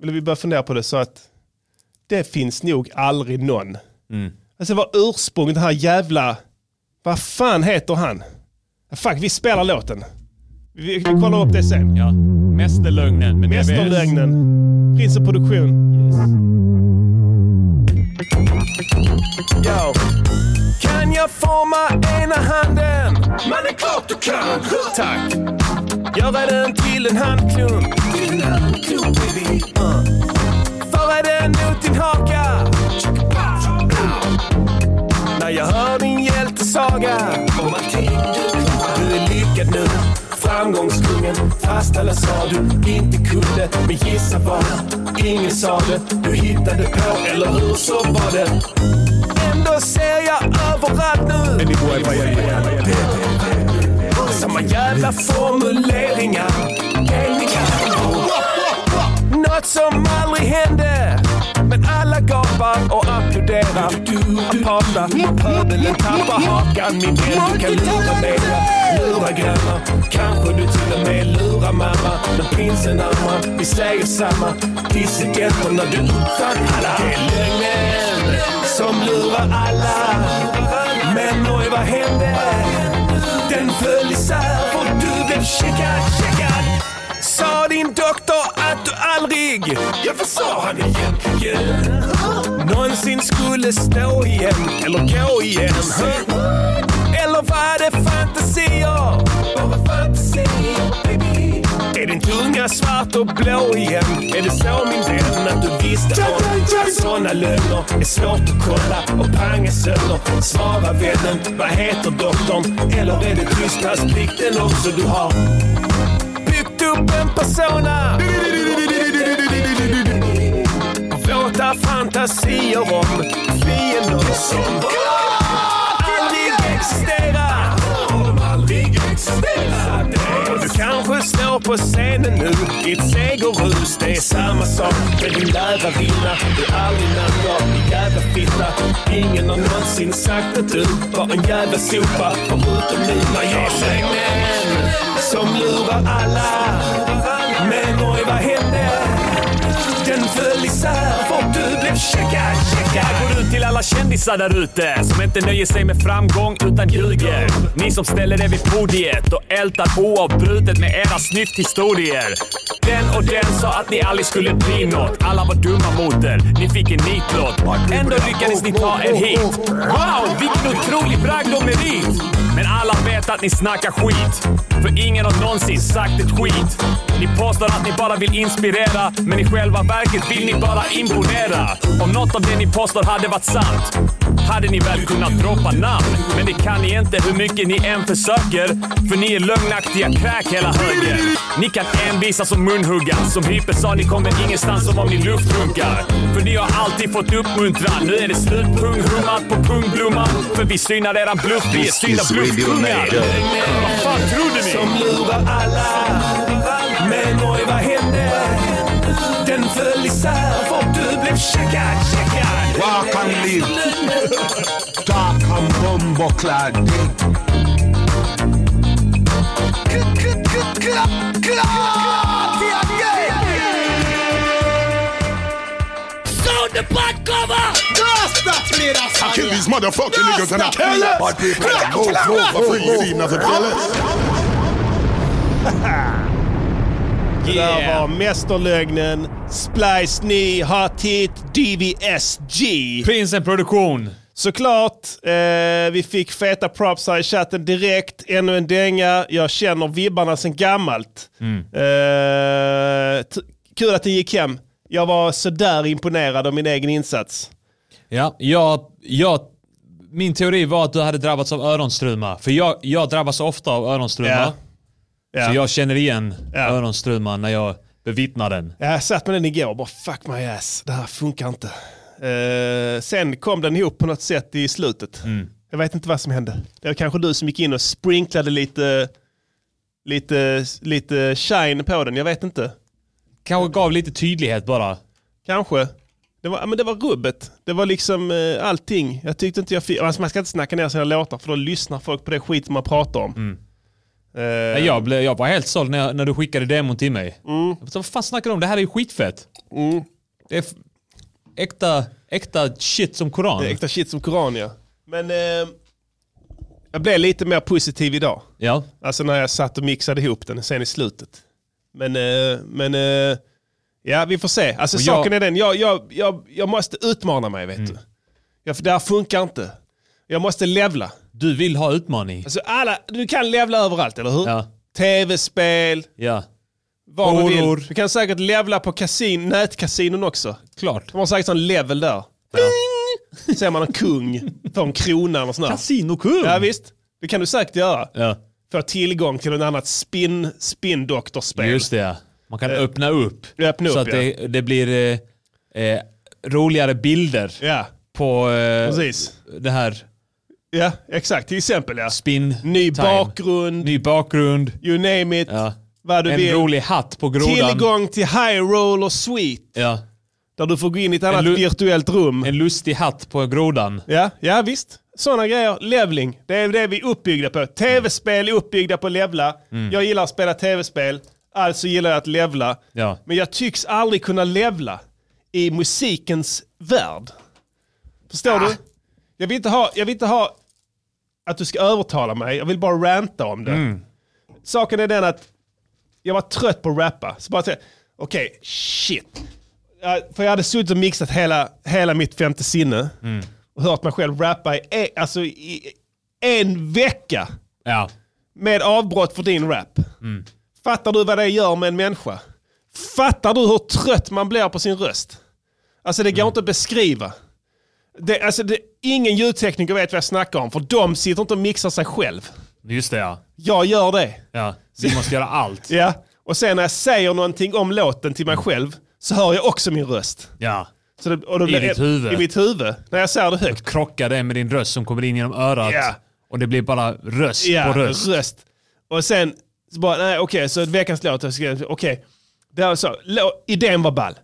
eller vi började fundera på det så att det finns nog aldrig någon. Alltså vad ursprunget, den här jävla, vad fan heter han? Fuck, vi spelar låten. Vi, vi kollar upp det sen.
Ja. Mästerlögnen med DBS.
Mästerlögnen, Prins och Produktion.
Yo. Kan jag forma ena handen? Man är klart du kan! Tack! Göra den till en handklump. Till en handklump, baby. Uh. Föra den mot din haka. När jag hör din hjältesaga. Om allting du klarar. Du är lyckad nu. Framgångskungen. Fast alla sa du inte kunde. Men gissa vad? Ingen sa det. Du hittade på, eller hur? Så var det. Ändå ser jag överallt nu Samma jävla formuleringar En i kanten. Något som aldrig hände Men alla gapar och applåderar Aparta, pöbeln tappar hakan Min vän, du kan lura media Lura grannar Kanske du till och med lurar mamma Men prinsen ammar, vi säger samma Dissidenter du uppfann alla Det är lögnen som lurar alla Men oj, vad hände? Den föll isär och du blev checkad, checkad. Sa din doktor att du aldrig, ja vad sa han egentligen? Någonsin skulle stå igen, eller gå igen. Eller var det fantasier? Bara fantasier, baby. Är din tunga svart och blå igen? Är det så min vän att du visste om att såna lögner är svårt att kolla och panga sönder? Svara vännen, vad heter doktorn? Eller är det tystnadsplikten också du har? Byggt upp en persona Våta fantasier om fiender som aldrig existerar. Och Du kanske står på scenen nu i ett segerrus. Det är samma sak med din lärarinna. Du är aldrig namngav, din jävla fitta. Ingen har någonsin sagt att du var en jävla sopa. Förutom nu när jag säger män som lurar alla. Men oj, vad hände? Den föll isär och du blev checkad, checkad. Går ut till alla kändisar där ute som inte nöjer sig med framgång utan ljuger. Ni som ställer er vid podiet och ältar oavbrutet med era snyfthistorier. Den och den sa att ni aldrig skulle bli något. Alla var dumma mot er. Ni fick en nitlott. Ändå lyckades ni ta er hit. Wow, vilken otrolig bragd och merit! Men alla vet att ni snackar skit. För ingen har någonsin sagt ett skit. Ni påstår att ni bara vill inspirera, men i själva verket vill ni bara imponera. Om något av det ni påstår hade varit sant, hade ni väl kunnat droppa namn. Men det kan ni inte hur mycket ni än försöker, för ni är lögnaktiga kräk hela högen. Ni kan envisas och munhugga. Som Hyper sa, ni kommer ingenstans som om ni luftrunkar. För ni har alltid fått uppmuntran. Nu är det slut punghummat på pungblomman. För vi synar eran bluff, vi är synda bluffkungar. Vad fan trodde ni? Som lurar alla. Men oj, vad hände? Den föll isär och du blev checkad, checkad.
Walk and live. Dark and bumbo clad.
I kill these motherfucking niggas and I kill it. But people that go flow for free, it ain't nothing careless.
Det där var Mästerlögnen, Splice Ni, Hot Hit, DVSG.
Finns en produktion.
Såklart, eh, vi fick feta props här i chatten direkt. Ännu en dänga. Jag känner vibbarna sedan gammalt.
Mm.
Eh, t- kul att det gick hem. Jag var sådär imponerad av min egen insats.
Ja, jag, jag, min teori var att du hade drabbats av öronstruma. För jag, jag drabbas ofta av öronstruma.
Ja.
Så
Ja. Jag...
jag känner igen
Ja.
öronstruma när jag bevittnar den.
jag satt med den igår och bara fuck my ass, det här funkar inte. Eh, sen kom den ihop på något sätt i slutet. Jag vet inte vad som hände. Det var kanske du som gick in och sprinklade lite, lite, lite shine på den, jag vet inte.
Kanske gav lite tydlighet bara.
Kanske. Det var, ja, men det var rubbet. Det var liksom eh, allting. Jag tyckte inte jag fick... Alltså man ska inte snacka ner sina låtar för då lyssnar folk på det skit man pratar om. Eh,
Nej, Jag, blev, jag var helt såld när, jag- när du skickade demon till mig.
Mm.
Jag bara, vad fan snackar du om? Det här är ju skitfett. Det är f- äkta, äkta shit som Koran.
det är äkta shit som Koran ja. Men eh, jag blev lite mer positiv idag.
Ja.
Alltså när jag satt och mixade ihop den sen i slutet. Men, eh, men eh, ja vi får se. Alltså
Och jag- Mm.
saken är den, jag, jag, jag, jag måste utmana mig vet du. Jag, för det här funkar inte. Jag måste levla.
Du vill ha utmaning.
Alltså alla, du kan levla överallt, eller hur?
Ja.
Tv-spel,
Ja,
vad du
Horor.
vill. Du kan säkert levla på kasin, nätkasinon också.
klart.
De har säkert sån level där. Bing! Ser man en kung, får en krona och sånt där.
Kasinokung!
Ja visst, det kan du säkert göra.
Ja,
Få tillgång till något annat spin, spin-doktorspel.
just det. ja. Man kan öppna upp.
Eh. öppna
så
upp,
att det, det blir eh, eh, roligare bilder
Ja,
på eh,
precis.
det här
Ja, exakt. Till exempel ja.
spin
Ny
time.
bakgrund,
Ny bakgrund.
you name it.
Ja.
Vad du
En
vill.
rolig hatt på grodan.
Tillgång till high roller suite.
Ja.
Där du får gå in i ett annat
lu-
virtuellt rum.
En lustig hatt på grodan.
Ja, ja visst. Sådana grejer. Levling. Det är det vi är uppbyggda på. Tv-spel är uppbyggda på att levla. Jag gillar att spela tv-spel. Alltså gillar jag att levla.
Ja.
Men jag tycks aldrig kunna levla i musikens värld. Förstår du? Jag vill, inte ha, jag vill inte ha att du ska övertala mig. Jag vill bara ranta om det. Saken är den att jag var trött på att rappa. Så bara säga, okej, shit. Ja, För jag hade suttit och mixat hela, hela mitt femte sinne och hört mig själv rappa i, e- alltså, i en vecka
Ja.
med avbrott för din rap. Fattar du vad det gör med en människa? Fattar du hur trött man blir på sin röst? Alltså det går inte att beskriva. Det, alltså det, ingen ljudtekniker vet vad jag snackar om för de sitter inte och mixar sig själv.
Just det ja.
Jag gör det.
ja. Vi måste göra allt.
Ja. Och sen när jag säger någonting om låten till mig själv så hör jag också min röst.
Ja.
Så det, och då blir-
ditt huvud.
I mitt huvud. När jag säger det högt.
Krocka det med din röst som kommer in genom örat.
Ja.
Och det blir bara röst
Ja, alltså,
på röst.
Och sen, så bara, nej okej, så veckans låt, jag skrev, okej. Det var så, lå- idén var ball.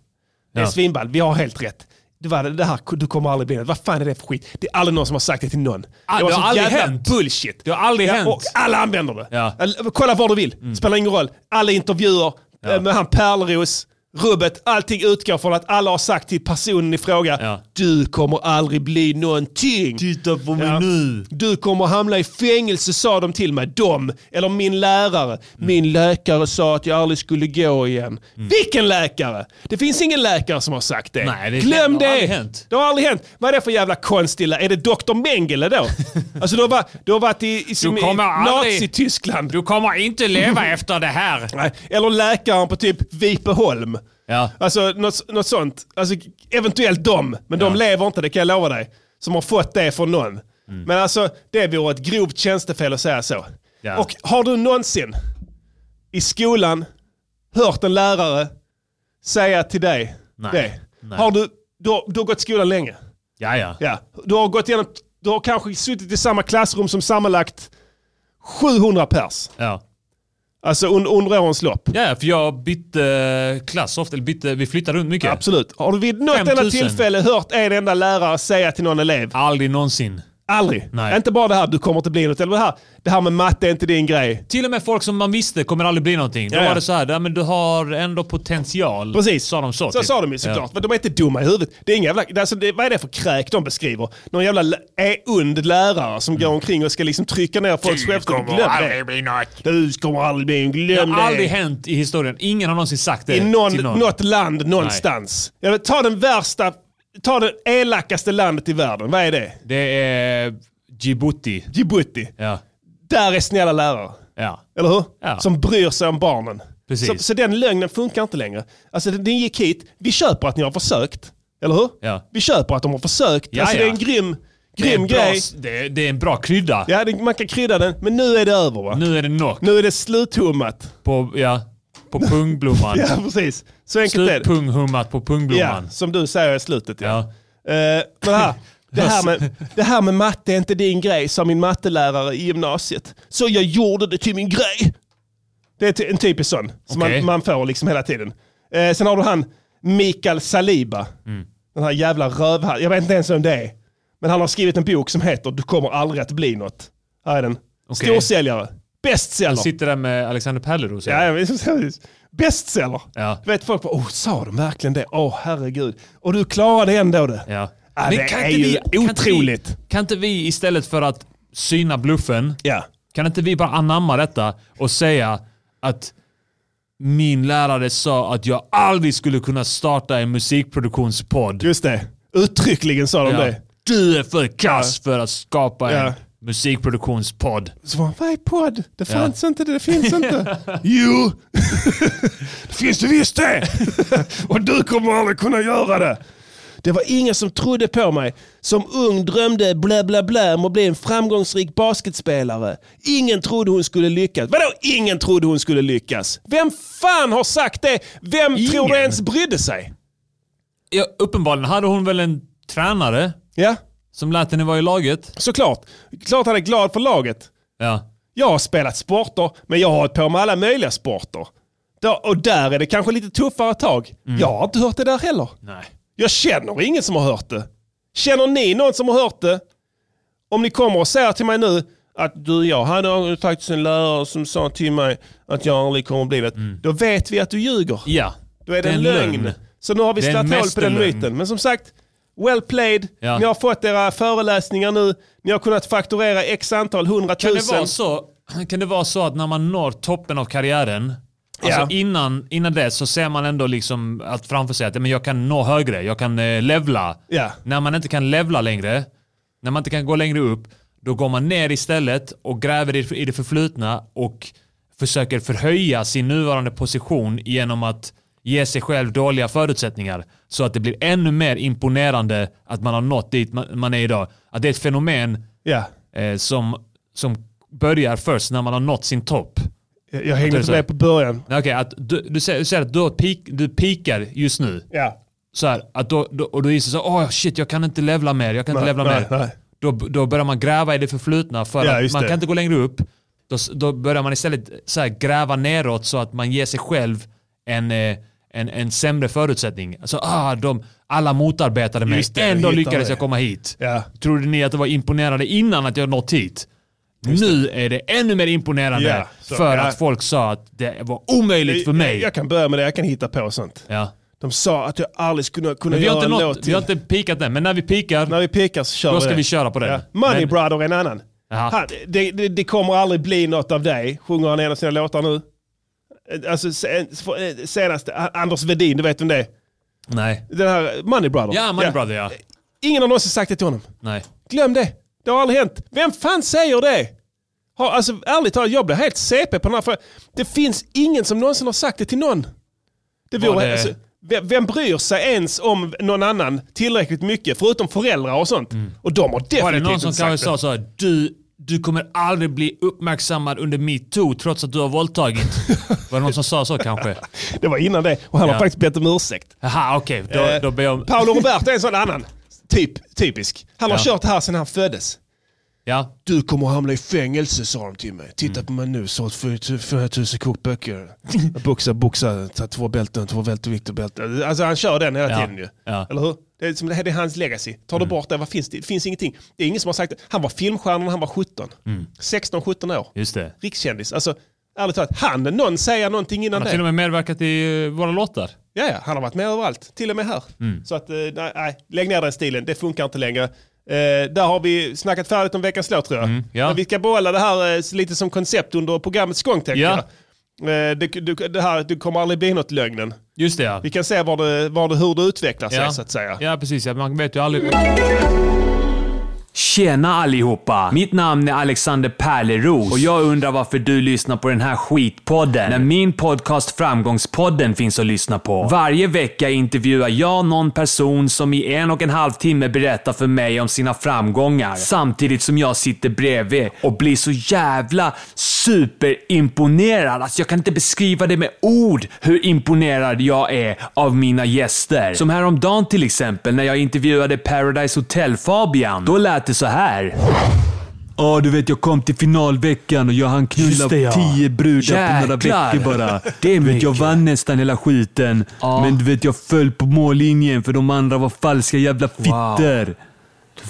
Det är
Ja.
svinball, vi har helt rätt. Det, var, det här, du kommer aldrig bli något. Vad fan är det för skit? Det är aldrig någon som har sagt det till någon.
Ah,
det var
det har
så
aldrig
jävla
hänt.
bullshit.
Det har aldrig hänt.
Och alla använder det.
Ja. Mm.
Eller, Kolla var du vill, spelar ingen roll. Alla intervjuer eh, med han Pärleros, rubbet, allting utgår från att alla har sagt till personen i fråga,
Ja.
du kommer aldrig bli någonting.
Titta på mig
Ja.
nu.
Du kommer hamna i fängelse sa de till mig. De, eller min lärare.
Mm.
Min läkare sa att jag aldrig skulle gå igen.
Mm.
Vilken läkare? Det finns ingen läkare som har sagt det.
Nej, det-
Glöm
det har
det!
aldrig hänt.
Det har aldrig hänt. Vad är det för jävla konstig lä- Är det Dr. Mengele
*laughs*
då? alltså du har, va- du har varit i, i, som i
kommer aldrig-
Nazityskland.
Du kommer inte leva
*laughs*
efter det här.
Nej, Eller läkaren på typ Vipeholm.
Ja.
Alltså något, något sånt. Alltså, eventuellt dem, men de lever inte, det kan jag lova dig. Som har fått det från någon.
Mm.
Men alltså det vore ett grovt tjänstefel att säga så.
Ja.
Och har du någonsin i skolan hört en lärare säga till dig
Nej.
det?
Nej.
Har du, du, har, du har gått i skolan länge.
Ja, ja.
Ja. Du har gått igenom, du har kanske suttit i samma klassrum som sammanlagt 700 pers.
ja.
Alltså under, under årens lopp.
Ja, för jag bytte klass ofta. Eller bytte, vi flyttade runt mycket.
Absolut. Har du vid något enda
5000?
tillfälle hört en enda lärare säga till någon elev
Aldrig någonsin.
Aldrig. Inte bara det här, du kommer inte bli något. Eller det här, det här med matte är inte din grej.
Till och med folk som man visste kommer aldrig bli någonting. Då
Ja, ja.
var det så här, ja, men du har ändå potential.
Precis.
Sa de så?
Så
typ.
sa de ju
Ja.
såklart. Men De är inte dumma i huvudet. Det är inga jävla, alltså det, vad är det för kräk de beskriver? Någon jävla lä- är ond lärare som
Mm.
går omkring och ska liksom trycka ner folks självförtroende. Glöm det.
bli något.
Du kommer aldrig bli en
Det
glöm
har aldrig
det.
hänt i historien. Ingen har någonsin sagt det
I någon,
till någon.
något land någonstans. Jag vet, ta den värsta, ta det elakaste landet i världen. Vad är det?
Det är Djibouti.
Djibouti.
Ja.
Där är snälla lärare.
Ja.
Eller hur?
Ja.
Som bryr sig om barnen.
Precis.
Så, så den lögnen funkar inte längre. Alltså den- den gick hit, vi köper att ni har försökt. Eller hur?
Ja.
Vi köper att de har försökt.
Ja,
alltså det är
ja.
en grym,
Det är
grym
en bra,
grej.
s- det, är, det är en bra krydda.
Ja, det, man kan krydda den, men nu är det över va?
Nu är det knock
Nu är det sluthummat.
på, ja, på pungblomman.
*laughs* Ja, precis. Så enkelt är det.
Slutpunghummat på
Ja,
pungblomman.
som du säger i slutet. Ja.
Ja.
Eh, men
*laughs*
här, det, här med, det här med matte är inte din grej, sa min mattelärare i gymnasiet. Så jag gjorde det till min grej. Det är ty- en typisk sån som
Okej.
man, man får liksom hela tiden. Eh, sen har du han Mikael Saliba.
Mm.
Den här jävla rövhatten. Jag vet inte ens vem det är. Men han har skrivit en bok som heter Du kommer aldrig att bli något. Här är den.
Okej.
Storsäljare.
Han
Bästseller.
sitter där med Alexander Pärleros.
Ja, ja, visst, *laughs* precis. Bästseller.
Ja.
Du vet folk bara, oh, sa de verkligen det? Åh herregud. Och du klarade ändå det.
Ja.
Ja, det är ju otroligt.
Kan inte, vi, kan inte vi istället för att syna bluffen,
Ja.
kan inte vi bara anamma detta och säga att min lärare sa att jag aldrig skulle kunna starta en musikproduktionspodd.
Just det. Uttryckligen sa de
Ja.
det.
Du är för kass för att skapa
Ja.
en musikproduktionspodd.
Så var han, vad är podd? Det fanns inte, det finns inte. jo! *laughs* det finns det visst det! *laughs* Och du kommer aldrig kunna göra det. Det var ingen som trodde på mig. Som ung drömde blä blä blä om att bli en framgångsrik basketspelare. Ingen trodde hon skulle lyckas. Vadå ingen trodde hon skulle lyckas? Vem fan har sagt det? Vem tror du ens brydde sig?
Ja, uppenbarligen hade hon väl en tränare
Ja,
som lät henne vara i laget.
såklart. Klart han är glad för laget.
Ja.
Jag har spelat sporter, men jag har hållit på med alla möjliga sporter. Då- Och där är det kanske lite tuffare tag.
Mm.
Jag har inte hört det där heller.
Nej.
Jag känner ingen som har hört det. Känner ni någon som har hört det? Om ni kommer och säger till mig nu att du, jag hade faktiskt en lärare som sa till mig att jag aldrig kommer att bli det. Då vet vi att du ljuger.
Mm. Ja.
Då är det
Det är
en
en
lögn.
lögn.
Så nu har vi
Det är en
slagit hål på den
mästerlögn.
myten. Men som sagt, well played.
Ja.
Ni har fått era föreläsningar nu. Ni har kunnat fakturera x antal
Kan det,
hundratusen.
vara så, kan det vara så att när man når toppen av karriären,
Ja.
alltså innan, innan det så ser man ändå liksom att framför sig att "Ja, men jag kan nå högre, jag kan eh, levla.
Ja.
När man inte kan levla längre, när man inte kan gå längre upp, då går man ner istället och gräver i, i det förflutna och försöker förhöja sin nuvarande position genom att ge sig själv dåliga förutsättningar så att det blir ännu mer imponerande att man har nått dit man, man är idag. Att det är ett fenomen
Ja.
eh, som, som börjar först när man har nått sin topp.
Jag, jag hängde
det
inte
så?
med på början.
Nej, Okej, att du, du, säger, du säger att du, har peak, du peakar just nu.
Ja.
Så här, att då, då, och då gissar så åh shit, jag kan inte levla mer, jag kan inte
Nej,
levla
nej,
mer.
nej.
Då, då börjar man gräva i det förflutna för
Ja,
att
just
man
det.
kan inte gå längre upp. Då, s- då börjar man istället så här, gräva neråt så att man ger sig själv en, eh, en, en sämre förutsättning. Alltså, ah, de, alla motarbetade mig,
Just det, jag
ändå
hittar
lyckades
det.
jag komma hit.
Ja.
Trodde ni att det var imponerande innan att jag nått hit? nu är det ännu mer imponerande
Ja, så,
för
ja.
att folk sa att det var omöjligt för mig.
Jag, jag kan börja med det, jag kan hitta på sånt.
ja.
De sa att jag aldrig skulle kunna
Men vi har,
göra
inte
en
nått,
låt
vi
till.
har inte peakat den, men när vi peakar,
När vi pikar så kör
Då
vi
ska
det.
vi köra på det.
Money
Men-
Brother är en annan.
Jaha.
Han, det, det, det kommer aldrig bli något av dig, sjunger han i en av sina låtar nu. Alltså sen, senast, Anders Vedin, du vet vem det är?
nej.
Den här Money Brother.
Ja, Money Brother ja.
Ingen har någonsin sagt det till honom.
Nej.
Glöm det. Det har aldrig hänt. Vem fan säger det? Har, alltså, ärligt talat, jag blir helt CP på den här frågan. Det finns ingen som någonsin har sagt det till någon. Det
Var
vore,
det-
Alltså, vem, vem bryr sig ens om någon annan tillräckligt mycket, förutom föräldrar och sånt? Och de har definitivt
Mm. Var det någon som
inte sagt
kanske
det.
sa såhär, du, du kommer aldrig bli uppmärksammad under metoo trots att du
*laughs*
har våldtagit. Var det någon som sa så kanske?
Det var innan det, och han har
Ja.
faktiskt bett om ursäkt.
Jaha, okej.
Eh,
Då, då ber jag om...
Paolo Roberto är en sån annan. Typ, typisk. Han har
Ja.
kört det här sedan han föddes.
Ja.
Du kommer hamna i fängelse sa de till mig.
Mm.
Titta på mig nu, sålt 4000 kokböcker. Boxa, boxa, ta två bälten, två vältevikt och bälten. Alltså han kör den hela
Ja.
tiden ju.
Ja. Mm.
Eller hur? Det är, som, det här är hans legacy. Tar du bort det, vad finns det? Det finns ingenting. Det är ingen som har sagt det. Han var filmstjärna när han var 17.
Mm.
16-17 år.
Just det.
Rikskändis. Alltså, ärligt talat, han någon säga någonting innan
Han har
det?
till och med medverkat i eh, våra låtar.
Ja, ja, han har varit med överallt, till och med här.
Mm.
Så att, eh, nej, nej, lägg ner den stilen, det funkar inte längre. Eh, där har vi snackat färdigt om veckans låt tror jag.
Mm, ja.
Men vi ska behålla det här eh, lite som koncept under programmets gång tänker
Ja.
jag. Eh, det, du, det här, du kommer aldrig bli något lögnen.
Just det ja.
Vi kan se var det, var det, hur det utvecklar sig
Ja.
så att säga.
Ja, precis. Ja. Man vet ju aldrig. Tjena allihopa! Mitt namn är Alexander Pärleros och jag undrar varför du lyssnar på den här skitpodden när min podcast Framgångspodden finns att lyssna på. Varje vecka intervjuar jag någon person som i en och en halv timme berättar för mig om sina framgångar samtidigt som jag sitter bredvid och blir så jävla superimponerad. Alltså jag kan inte beskriva det med ord hur imponerad jag är av mina gäster. Som häromdagen till exempel när jag intervjuade Paradise Hotel-Fabian. Då lät det så här. Ja, du vet jag kom till finalveckan och jag hann knulla
det, ja.
tio brudar på några
Jäklar.
veckor
*laughs*
bara.
Det
du
är
vet, jag
mycket.
vann nästan hela skiten.
Ja.
Men du vet, jag föll på mållinjen för de andra var falska jävla fittor. Du,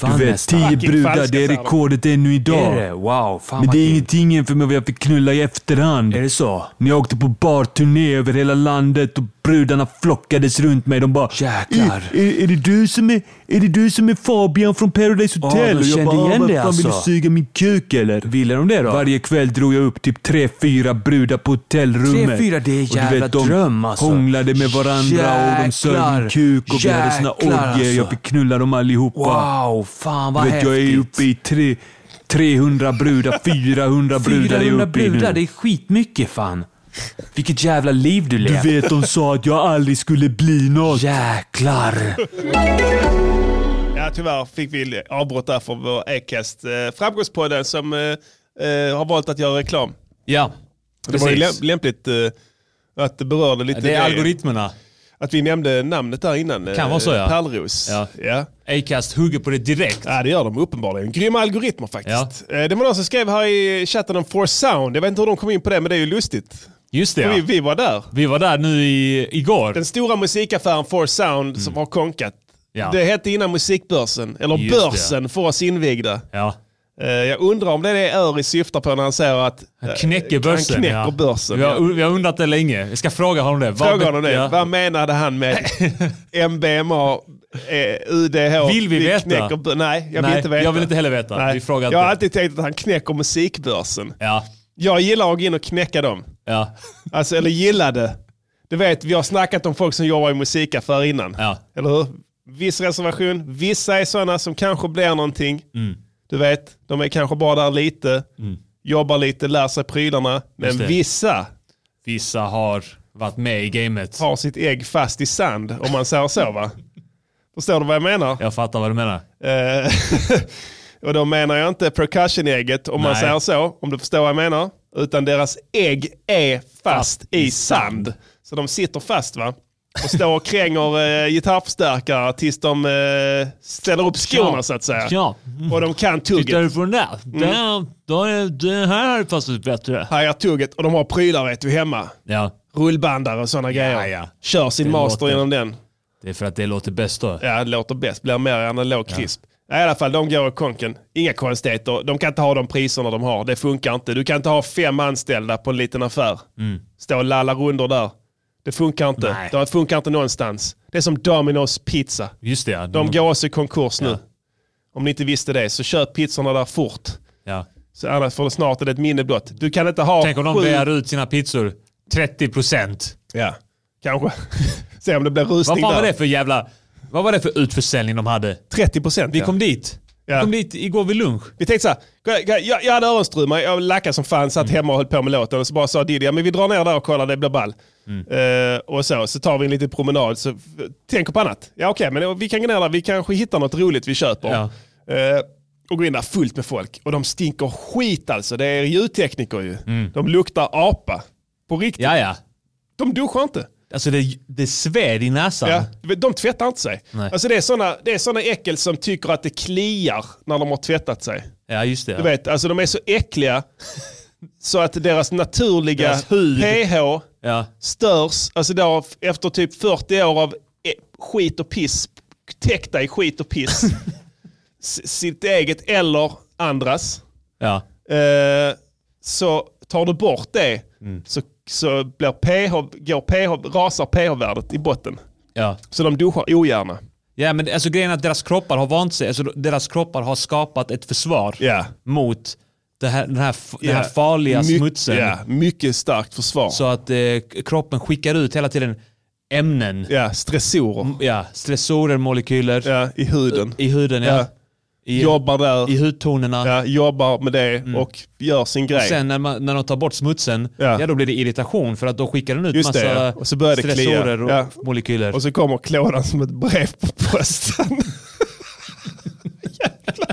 vann
vet,
nästan.
tio
Fucking
brudar,
falska,
det är
sa de.
rekordet ännu idag.
Är det? Wow, fan
Men
vad
det är
kul.
ingenting jämfört med vad jag fick knulla i efterhand. Är det så? När jag åkte på barturné över hela landet och brudarna flockades runt mig. De bara Jäklar. Är, är, det du som är, är det du som är Fabian från Paradise
Ja,
Hotel? och
de
jag
kände
bara, "Ah,
igen
vad
dig
fan, vill
alltså."
du suga min kuk eller? Ville de det då? Varje kväll drog jag upp typ tre, fyra brudar på hotellrummet.
Tre, fyra, det är
Och du
jävla
de
dröm, alltså.
hånglade med varandra och de sög min
Jäklar.
kuk och vi hade såna
Jäklar,
orgier. Jag
alltså.
fick knulla dem allihopa.
Wow, fan vad
du vet, jag är
häftigt.
uppe i tre, 300 brudar, 400 brudar är jag
400
uppe i
brudar, det
nu.
är skitmycket fan. Vilket jävla liv du
Du
lever.
vet, de sa att jag aldrig skulle bli något.
Jäklar.
Ja, tyvärr fick vi avbrott där för vår Acast eh, Framgångspodden som eh, eh, har valt att göra reklam.
Ja,
Det var ju
precis.
läm- lämpligt eh, att det berörde lite
Det är algoritmerna.
Att vi nämnde namnet där innan. eh,
Kan vara så, ja.
Pärlros.
Ja.
Ja.
Acast hugger på det direkt.
Ja, det gör de uppenbarligen. Grymma algoritmer faktiskt. Eh, Det var någon som skrev här i chatten om For Sound. Jag vet inte hur de kom in på det, men det är ju lustigt.
Just det
För vi,
ja.
vi var där.
Vi var där nu i, igår.
Den stora musikaffären For Sound som har konkat.
Mm. Ja.
Det hette innan musikbörsen, eller
Just det.
börsen för oss invigda.
Ja.
Eh, Jag undrar om det är det Öri syftar på när han säger att eh,
Knäcker börsen.
han knäcker
ja.
börsen.
Vi,
ja.
har, vi har undrat det länge. Vi ska fråga honom det. Vad
Fråga honom
bet-
det.
ja.
Vad menade han
*laughs*
med MBMA, eh, UDH?
Vill vi veta?
knäcker bör- Nej, jag vill
Nej,
inte veta.
jag vill inte heller veta.
Nej.
Vi frågar
jag har
inte.
alltid tänkt att han knäcker musikbörsen.
Ja.
Jag gillar att gå in och knäcka dem.
Ja.
Alltså, eller gillade. Du vet, vi har snackat om folk som jobbar i musikaffär innan.
Ja.
Eller hur? Viss reservation. Vissa är sådana som kanske blir någonting.
Mm.
Du vet, de är kanske bara där lite. Jobbar lite, lär sig prylarna. Men
Just det.
vissa
Vissa har varit med i gamet.
har sitt ägg fast i sand, om man säger så va? Förstår du vad jag menar?
Jag fattar vad du menar.
Eh, *laughs* och då menar jag inte percussion-ägget om man
Nej.
säger så, om du förstår vad jag menar. Utan deras ägg är fast, i sand. Så de sitter fast va? Och står och kränger eh, gitarrförstärkare tills de eh, ställer upp skorna
Ja.
så att säga.
Ja.
Och de kan
Tittar du
tugget.
på den där?
Mm.
Den, då är, den här är fast lite bättre.
Här är tugget och de har prylar vet du hemma.
Ja,
Rullbandare och sådana grejer.
ja.
Kör sin
Det
master
låter.
genom den.
det är för att det låter bäst då.
Ja, det låter bäst. Blir mer analog krisp. Ja. I alla fall, de går i konken. Inga konstigheter. De kan inte ha de priserna de har. Det funkar inte. Du kan inte ha fem anställda på en liten affär. Stå och lalla rundor där. Det funkar inte.
Mm. Nej.
Det funkar inte någonstans. Det är som Domino's pizza.
Just det, ja.
De går också i konkurs nu.
Mm. Ja.
Om ni inte visste det, så köp pizzorna där fort.
ja.
Så annars får det snart är det ett minne blott. Du kan inte ha
Tänk om de
sju-
begär ut sina pizzor 30 procent.
Ja, kanske. *laughs* Se om det blir
Vad
rusning
fan var
där.
det för jävla... Vad var det för utförsäljning de hade?
30 procent.
Vi kom dit.
Ja.
Vi kom dit igår vid lunch.
Vi tänkte så här, gå- gå- jag, jag hade öronstruma, jag lackade som fan,
Mm.
satt hemma och höll på med låten och så bara sa Diddy, ja men vi drar ner där och kollar, det blir ball.
Mm.
Eh, och så, så tar vi en liten promenad, så f- tänker på annat. Ja okej, men vi kan gå ner där, vi kanske hittar något roligt vi köper.
Ja.
Eh, och går in där fullt med folk. Och de stinker skit alltså, det är ljudtekniker ju. De luktar apa. På riktigt.
Ja, Mm. ja.
De duschar inte.
Alltså det, det sved i näsan.
Ja, du vet, de tvättar inte sig.
Nej.
Alltså det är sådana det är såna äckel som tycker att det kliar när de har tvättat sig.
Ja, just det.
Du vet, alltså de är så äckliga så att deras naturliga
Deras hud.
pH
Ja.
störs. Alltså det har, efter typ 40 år av eh, e, skit och piss täckta i skit och
*laughs*
piss. S- sitt eget eller andras.
Ja.
Eh, så tar du bort det
Mm.
så, så blir pH, går pH, rasar pH-värdet i botten.
Ja.
Så de duschar ogärna.
Ja men alltså grejen är att deras kroppar har vant sig, alltså deras kroppar har skapat ett försvar mot det här, den, här, f- den här
Ja.
farliga
My-
smutsen.
ja, mycket starkt försvar.
Så att eh, kroppen skickar ut hela tiden ämnen.
Ja, stressorer.
ja, stressorer, molekyler.
Ja, i huden.
I huden ja.
Ja.
I,
jobbar där.
I hudtonerna.
Ja, jobbar med det och gör sin grej.
Och sen när, man, när de tar bort smutsen, ja. då blir det irritation för att då skickar den ut
Just
massa
det, ja. Och så börjar det klia.
stressorer och
Ja.
molekyler.
Och så kommer klådan som ett brev på posten.
*laughs*
Jävla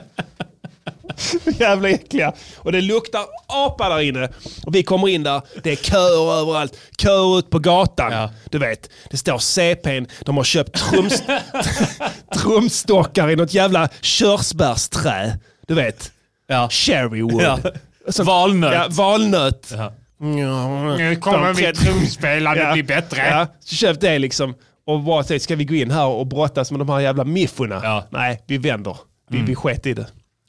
*laughs* jävla äckliga. Och det luktar apa där inne. Och vi kommer in där, det är köer överallt. Köer ut på gatan. Du vet, det står CPn, de har köpt trums,
*laughs*
trumstockar i något jävla körsbärsträ. Du vet, cherrywood.
Ja.
valnöt. Ja, valnöt.
Nu kommer mitt trumspelande bli bättre.
Ja, så köp det liksom. Och bara säg, ska vi gå in här och brottas med de här jävla miffona? Nej, vi vänder. Vi, vi sket i det.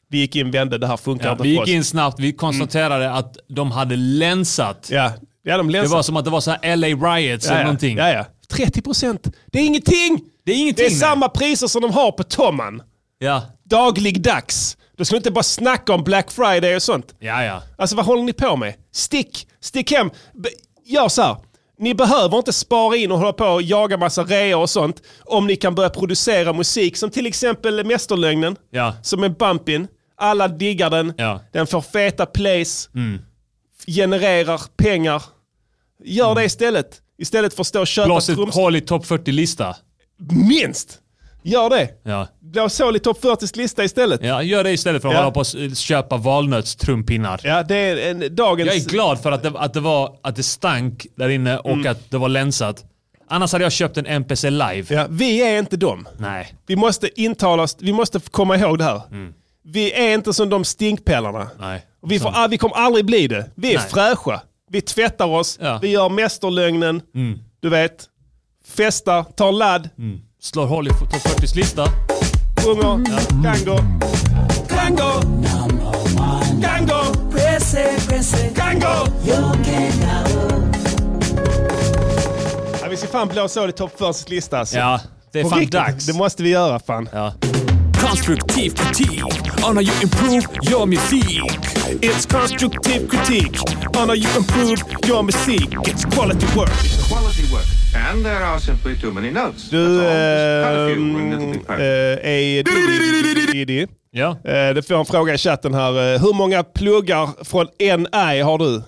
Vi gick in, vände, det här funkar
Mm.
inte
Ja, vi
för oss.
gick in snabbt, vi konstaterade att de hade länsat.
Mm. Ja. Ja, de länsat.
Det var som att det var så här LA Riots
Ja,
eller
ja.
någonting.
Ja, ja. 30 procent. Det är ingenting!
Det är ingenting.
Det är samma priser som de har på Tomman.
Ja.
Dagligdags. Du ska inte bara snacka om Black Friday och sånt.
Ja, ja.
Alltså vad håller ni på med? Stick! Stick hem! B- Gör så här. Ni behöver inte spara in och hålla på och jaga massa reor och sånt om ni kan börja producera musik som till exempel Mästerlögnen
Ja.
som är bumpin. Alla diggar den.
Ja. Mm.
Den får feta plays. Genererar pengar. Gör det istället. Istället för att stå och köpa
Mm. Blås ett
trumset.
hål i topp 40-lista.
Minst! Gör det.
Ja.
Blås hål i topp 40s lista istället.
ja, gör det istället för att
Ja.
hålla på och s- köpa valnötstrumpinnar.
Ja, det är en, dagens...
Jag är glad för att det, att det, var, att det stank där inne och
Mm.
att det var länsat. Annars hade jag köpt en MPC live.
Ja, vi är inte dem.
Nej.
Vi måste intala oss, vi måste komma ihåg det här. Vi är inte som de stinkpellarna.
Mm. Nej.
Och Vi, får, ah, vi kommer aldrig bli det. Vi är
Nej.
fräscha. Vi tvättar oss,
Ja. Mm.
vi gör mästerlögnen, du vet. Festar, tar ladd,
Slår hål i f- topp 40s lista.
sjunger, tango. Tango! Tango! Tango! Ja, vi ska fan blåsa av i topp 40 lista alltså.
Ja, det är
På
fan
riktigt,
dags.
Det måste vi göra fan.
Konstruktiv kritik on how you improve your music. It's constructive critique on how you improve your music. It's quality work.
Quality work. And there are simply too many notes.
Du eh,
ehm,
typ.
är Diddy. Diddy.
Ja.
Eh, Det får en fråga i chatten här. Eh, Hur många pluggar från NI har du?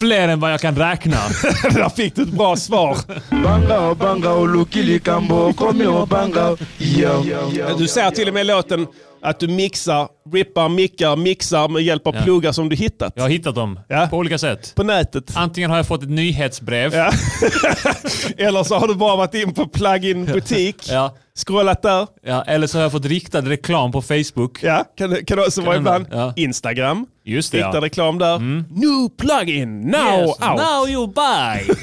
*laughs*
Fler än vad jag kan räkna.
Där fick du ett bra svar. Du säger till och med i låten att du mixar, rippar, mickar, mixar med hjälp av
Ja.
pluggar som du hittat.
Jag har hittat dem på olika sätt.
På nätet.
Antingen har jag fått ett nyhetsbrev.
Ja. *laughs* Eller så har du bara varit in på plug-in butik,
Ja.
scrollat där.
Ja, eller så har jag fått riktad reklam på Facebook.
Ja, kan, kan det också vara
hända.
ibland. Instagram.
Just det,
Riktad
ja. Mm.
reklam där. New plugin, now
Yes,
out.
now you buy.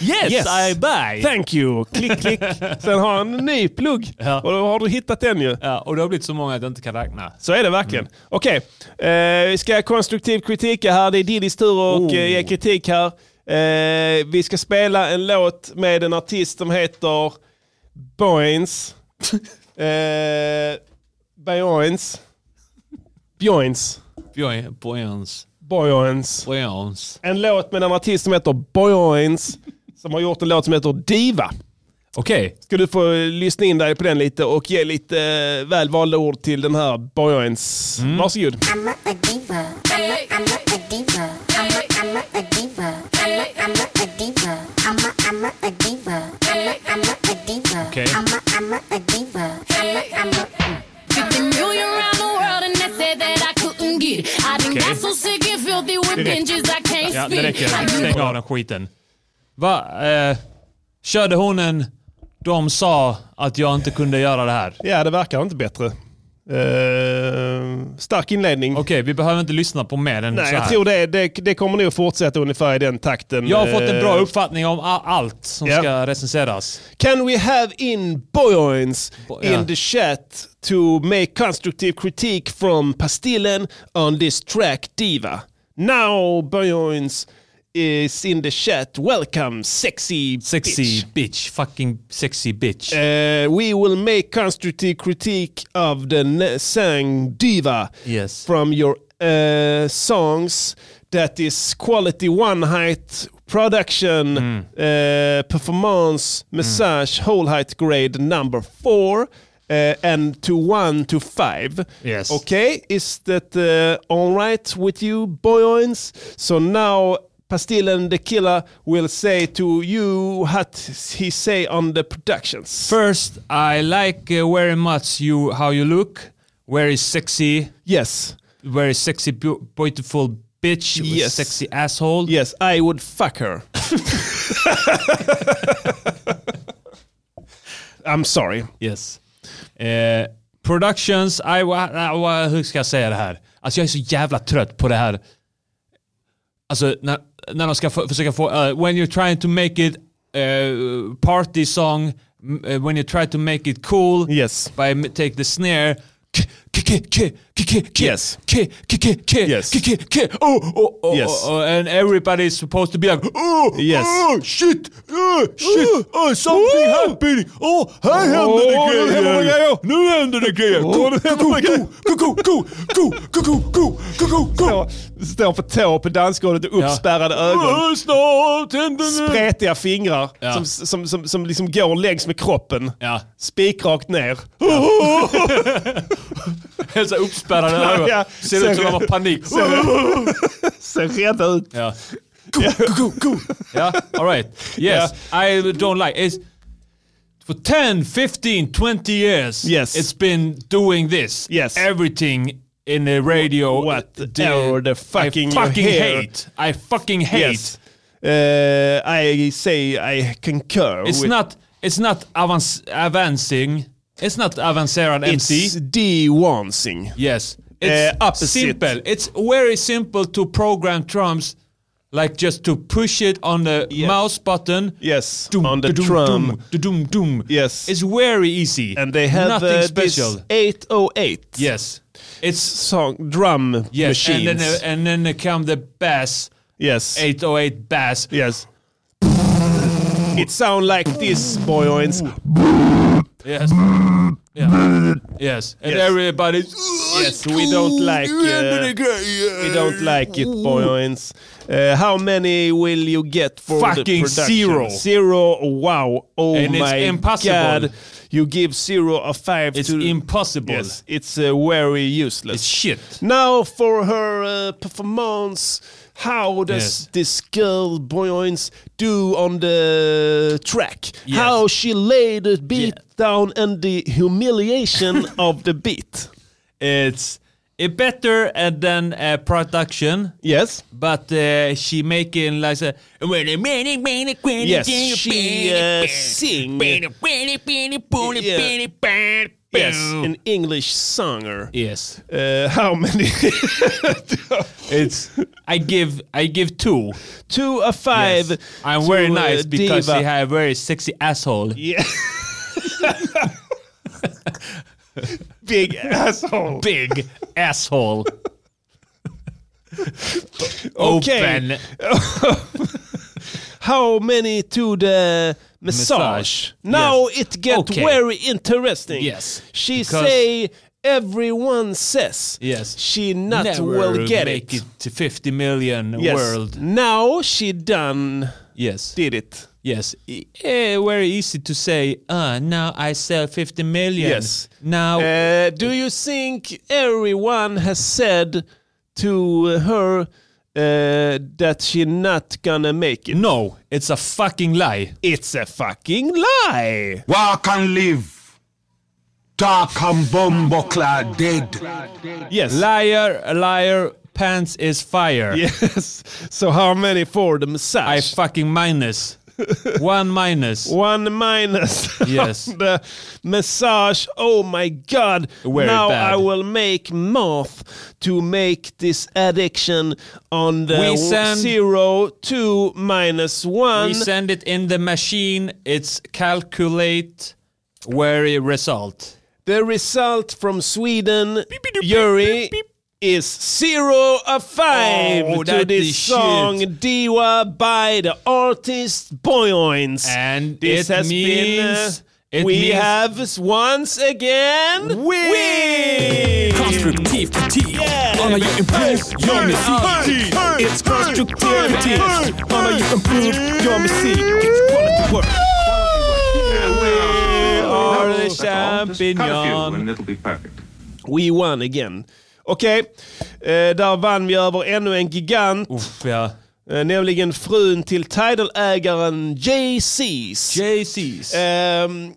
*laughs* yes, I buy.
Thank you. Klick, klick. Sen har han en ny plugg. Och då har du hittat den ju.
Ja, och det har blivit så många att jag inte kan räkna.
Så är det verkligen. Okej, eh, vi ska ha konstruktiv kritik här. Det är Didis tur och
Oh.
eh, ge kritik här. Eh, vi ska spela en låt med en artist som heter Boins. eh, Boins. Bjoins.
Björn- Björns.
Boyons.
Björns.
En låt med en artist som heter Boyons. Som har gjort en låt som heter Diva.
Okej.
Ska du få eh, lyssna in dig på den lite och ge lite eh, välvalda ord till den här Boyons. Varsågod.
I'm a, a diva. I'm a, I'm a, a diva. I'm a, I'm a, a diva. I'm a, I'm a, a diva. I'm a, I'm a, a diva. I'm a, I'm a, a diva.
Okay.
I'm a, I'm a, a diva. I'm a, I'm a.
Took the million around the world and they said that I couldn't get it. I done
Okay.
got so sick and filthy with
Direkt.
binges I can't
Ja, det
speak. I
räcker.
used-
Stäng av den skiten. Va? Eh, körde hon en... De sa att jag inte kunde göra det här.
Ja, det verkar inte bättre. Eh, stark inledning.
Okej, vi behöver inte lyssna på mer än
Nej,
så här.
jag tror det, det, det kommer nog fortsätta ungefär i den takten.
Jag har fått en bra
Eh,
uppfattning om a- allt som
Ja.
ska recenseras.
Can we have in Boyens
ja.
in the chat to make constructive critique from Pastillen on this track Diva? Now Boyens is in the chat. Welcome sexy
Sexy
bitch.
bitch. Fucking sexy bitch.
Uh, we will make constructive critique of the ne- sang diva
Yes.
from your uh, songs that is quality one height production
Hmm.
uh, performance massage whole height grade number four uh, and to one to five
Yes.
okay is that uh, all right with you boyoins so now Pastillen the killer will say to you what he say on the productions
First, I like uh, very much you how you look. Very sexy.
Yes.
Very sexy, bu- beautiful bitch. with
Yes.
Sexy asshole.
Yes, I would fuck her. I'm sorry.
Yes. Eh, productions, I wa, I wa, hur ska jag säga det här? Alltså jag är så jävla trött på det här. Alltså när, när de ska få, försöka få, eh, when you're trying to make it eh, party song, m- eh, when you try to make it cool,
yes.
by m- take the snare, k- k- k- k- k- k- k-
Yes.
k- k- k- k- k- k- k- oh, oh, oh,
Yes.
oh, oh, and everybody is supposed to be like, oh,
Yes.
oh, shit, oh, shit, oh, something happening, oh, här händer
Åh, nu
det
händer det
grejer,
grejer.
nu händer det grejer,
Åh, nu händer det grejer.
koko, koko, koko, koko, koko, koko, koko,
Står på tå på dansgolvet och uppspärrade ögon.
Snart händer det.
Spretiga fingrar
Ja.
som, som, som, som liksom går längs med kroppen.
Ja. *laughs*
Spikrakt ner.
Helt så här uppspärrade ögon.
Ja,
Ser ut som de har panik.
Ser, *laughs* ser rädda ut.
Ja. yeah, all right. Yes, I don't like it's for 10, 15, 20 years.
Yes.
it's been doing this.
Yes.
everything in the radio.
What the,
the-
the fucking,
I fucking
hair.
hate. I fucking hate.
Yes. Uh, I say I concur
It's
with
not. It's not avans- advancing. It's not avancerad
it's
MC.
de-wancing.
Yes, it's
Eh, opposite.
simple. It's very simple to program drums, like just to push it on the mouse button.
Yes,
Doom,
on the
da-doom,
drum.
doom, da-doom, doom.
Yes.
It's very easy.
And they have
nothing
uh,
special.
this 808
yes. It's
song drum
yes,
machines.
and then uh, and then uh, come the bass
yes,
808 bass.
yes. It sound like this, boyoins.
Yes.
*laughs*
Yeah. Yes. And
Yes.
everybody's
Yes, we don't like. Uh, we don't like it, boyoins. Uh, how many will you get for
Fucking
the production?
zero.
Zero. Wow. Oh
And it's
my
impossible.
god. You give zero a five
It's
to
impossible.
Yes, it's uh, very useless.
It's shit.
Now for her uh, performance, how does
Yes.
this girl Boyens do on the track?
Yes.
How she laid the beat down and the
*laughs*
humiliation of the beat.
It's a better uh, than a production.
Yes.
But uh, she making like a yes,
Yes, she uh, sing. Yes, an English singer.
yes.
Uh, how many? *laughs*
It's *laughs* I give I give two.
Two a five.
Yes. I'm
to,
very
uh,
nice because
diva.
she had a very sexy asshole.
Yeah.
*laughs*
Big asshole. *laughs*
Big asshole.
Okay.
Open.
How many to the massage?
Massage.
Now it get
Okay.
very interesting.
Yes.
She
Because-
say everyone says.
Yes.
She not
Never
will get
make
it.
it. to 50 million
Yes.
world.
Now she done
Yes.
did it.
Yes. E- eh, very easy to say, uh, now I sell 50 million.
Yes.
Now
Uh, do you think everyone has said to her uh, that she not gonna make it?
No, it's a fucking lie.
It's a fucking lie.
Walk and live. Dark and bumbo clad dead.
Yes. *laughs*
Liar, liar, pants is fire.
Yes. So how many for the massage? *laughs*
I fucking minus. One minus.
One minus.
Yes.
*laughs* the massage. Oh my god.
Very
now
bad.
I will make math to make this addiction on the
We send-
zero to minus one.
We send it in the machine. It's calculate where result.
The result from Sweden, Yuri, is zero of five
Oh,
to
that
this
is
song Diwa by the artist Boyoins.
And
this
it
has
means-
been. uh,
it
we
means-
have once again win.
Constructivity. Honor you improve your music. It's constructivity. Honor you improve your music. It's quality work.
We are the
Curfew
champion.
and it'll be perfect.
We won again. Okej, eh, där vann vi över ännu en gigant.
Ja.
Eh, Nämligen frun till Tidal-ägaren Jay-Z's.
Jay-Z's.
Ehm,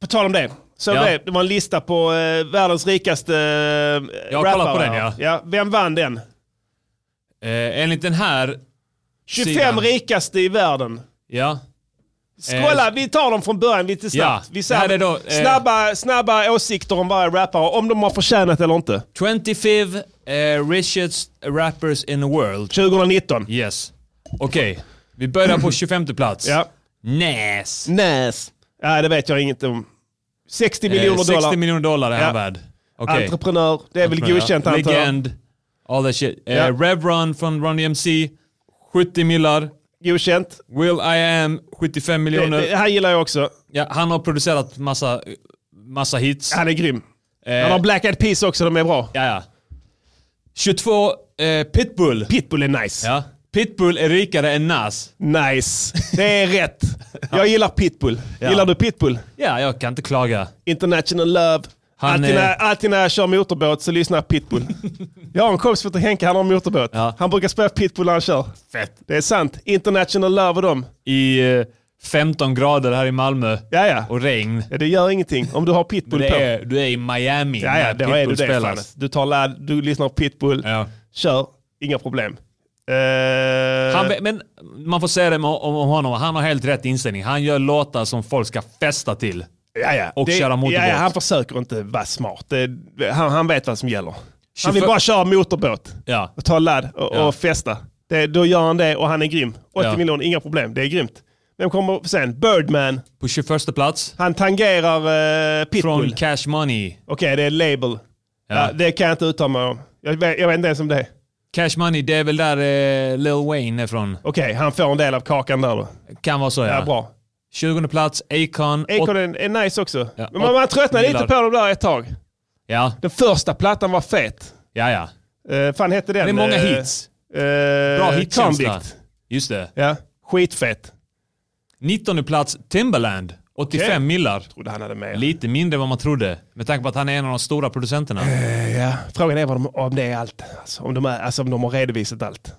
på tal om det. Så
Ja.
det, det var en lista på eh, världens rikaste eh,
Jag har
rappare.
kollat på den, ja.
Vem vann den?
Eh, enligt den här
25
sidan.
rikaste i världen.
Ja.
Skåla, vi tar dem från början lite snabbt.
Eh, Ja,
vi
det här
säger
är då, eh,
snabba, snabba åsikter om varje rappare, om de har förtjänat eller inte.
25 eh, richest rappers in the world.
2019.
Yes. Okej, vi börjar på 25 plats.
Ja.
Näs.
Näs. Nej, det vet jag inget om. 60 miljoner dollar.
60 Eh, miljoner dollar är
Ja.
han värd. Okej.
Entreprenör. Det är väl
Entreprenör.
godkänt antar jag.
Legend. All that shit. Eh,
Ja.
Rev Run från Run E DMC. 70 millar.
Godkänt.
Will I Am 75 miljoner.
Det, det här gillar jag också.
Ja, han har producerat massa, massa hits.
Han är grym.
Eh,
Han har Black Eyed Peas också, de är bra.
Ja, ja. 22, eh, Pitbull.
Pitbull är nice.
Ja. Pitbull är rikare än Nas.
Nice. Det är
*laughs*
rätt. Jag gillar Pitbull.
Ja.
Gillar du Pitbull?
Ja, jag kan inte klaga.
International Love.
Han
alltid,
är-
när, alltid när jag kör motorbåt så lyssnar jag
*laughs*
Pitbull. jag har en kompis som heter Henke, han har motorbåt. Han brukar spela Pitbull när han kör.
Fett.
Det är sant. International Love och dem.
I eh, 15 grader här i Malmö.
Ja, ja.
Och regn.
Ja, det gör ingenting om du har
Men
Pitbull
det
på.
är, du är i Miami
Ja, ja,
när
då är du det. Fan.
spelas.
Du, tar ladd, du lyssnar på Pitbull,
Ja.
kör, inga problem. Eh,
Han, men man får säga det om, om honom, han har helt rätt inställning. Han gör låtar som folk ska festa till.
ja, ja.
Och
Det-
köra motorbåt.
Ja, ja, han försöker inte vara smart. Det, han, han vet vad som gäller. Han vill
24
bara köra motorbåt
Ja.
och ta ladd och,
Ja.
och festa. Det, då gör han det och han är grym. 80
Ja.
miljoner, inga problem. Det är grymt. Vem kommer sen? Birdman.
På 21 plats,
Han tangerar eh, Pitbull.
från
Okej,
Cash Money.
det är label. Ja.
Ja.
det kan jag inte uttala mig om. Jag vet, jag vet inte ens om det är.
Cash Money, det är väl där eh, Lil Wayne är från.
Okej, han får en del av kakan där då.
Kan vara så
Ja,
ja.
bra.
20 plats, Akon.
Akon
Åt-
är, är nice också.
Ja,
Men man, man tröttnade lite på
gillar.
dem där ett tag.
Ja,
Den första plattan var fet.
ja, ja.
Uh, fan hette den?
Det är många
Eh,
hits.
eh,
Bra hitkänsla.
Convict.
Just det.
Ja, skitfett.
19 plats, Timbaland. 85
Okej.
millar.
Trodde han hade med.
Lite mindre än vad man trodde. Med tanke på att han är en av de stora producenterna.
Eh. Ja, frågan är vad de, om det är allt. Alltså, om, de är, alltså, om de har redovisat allt.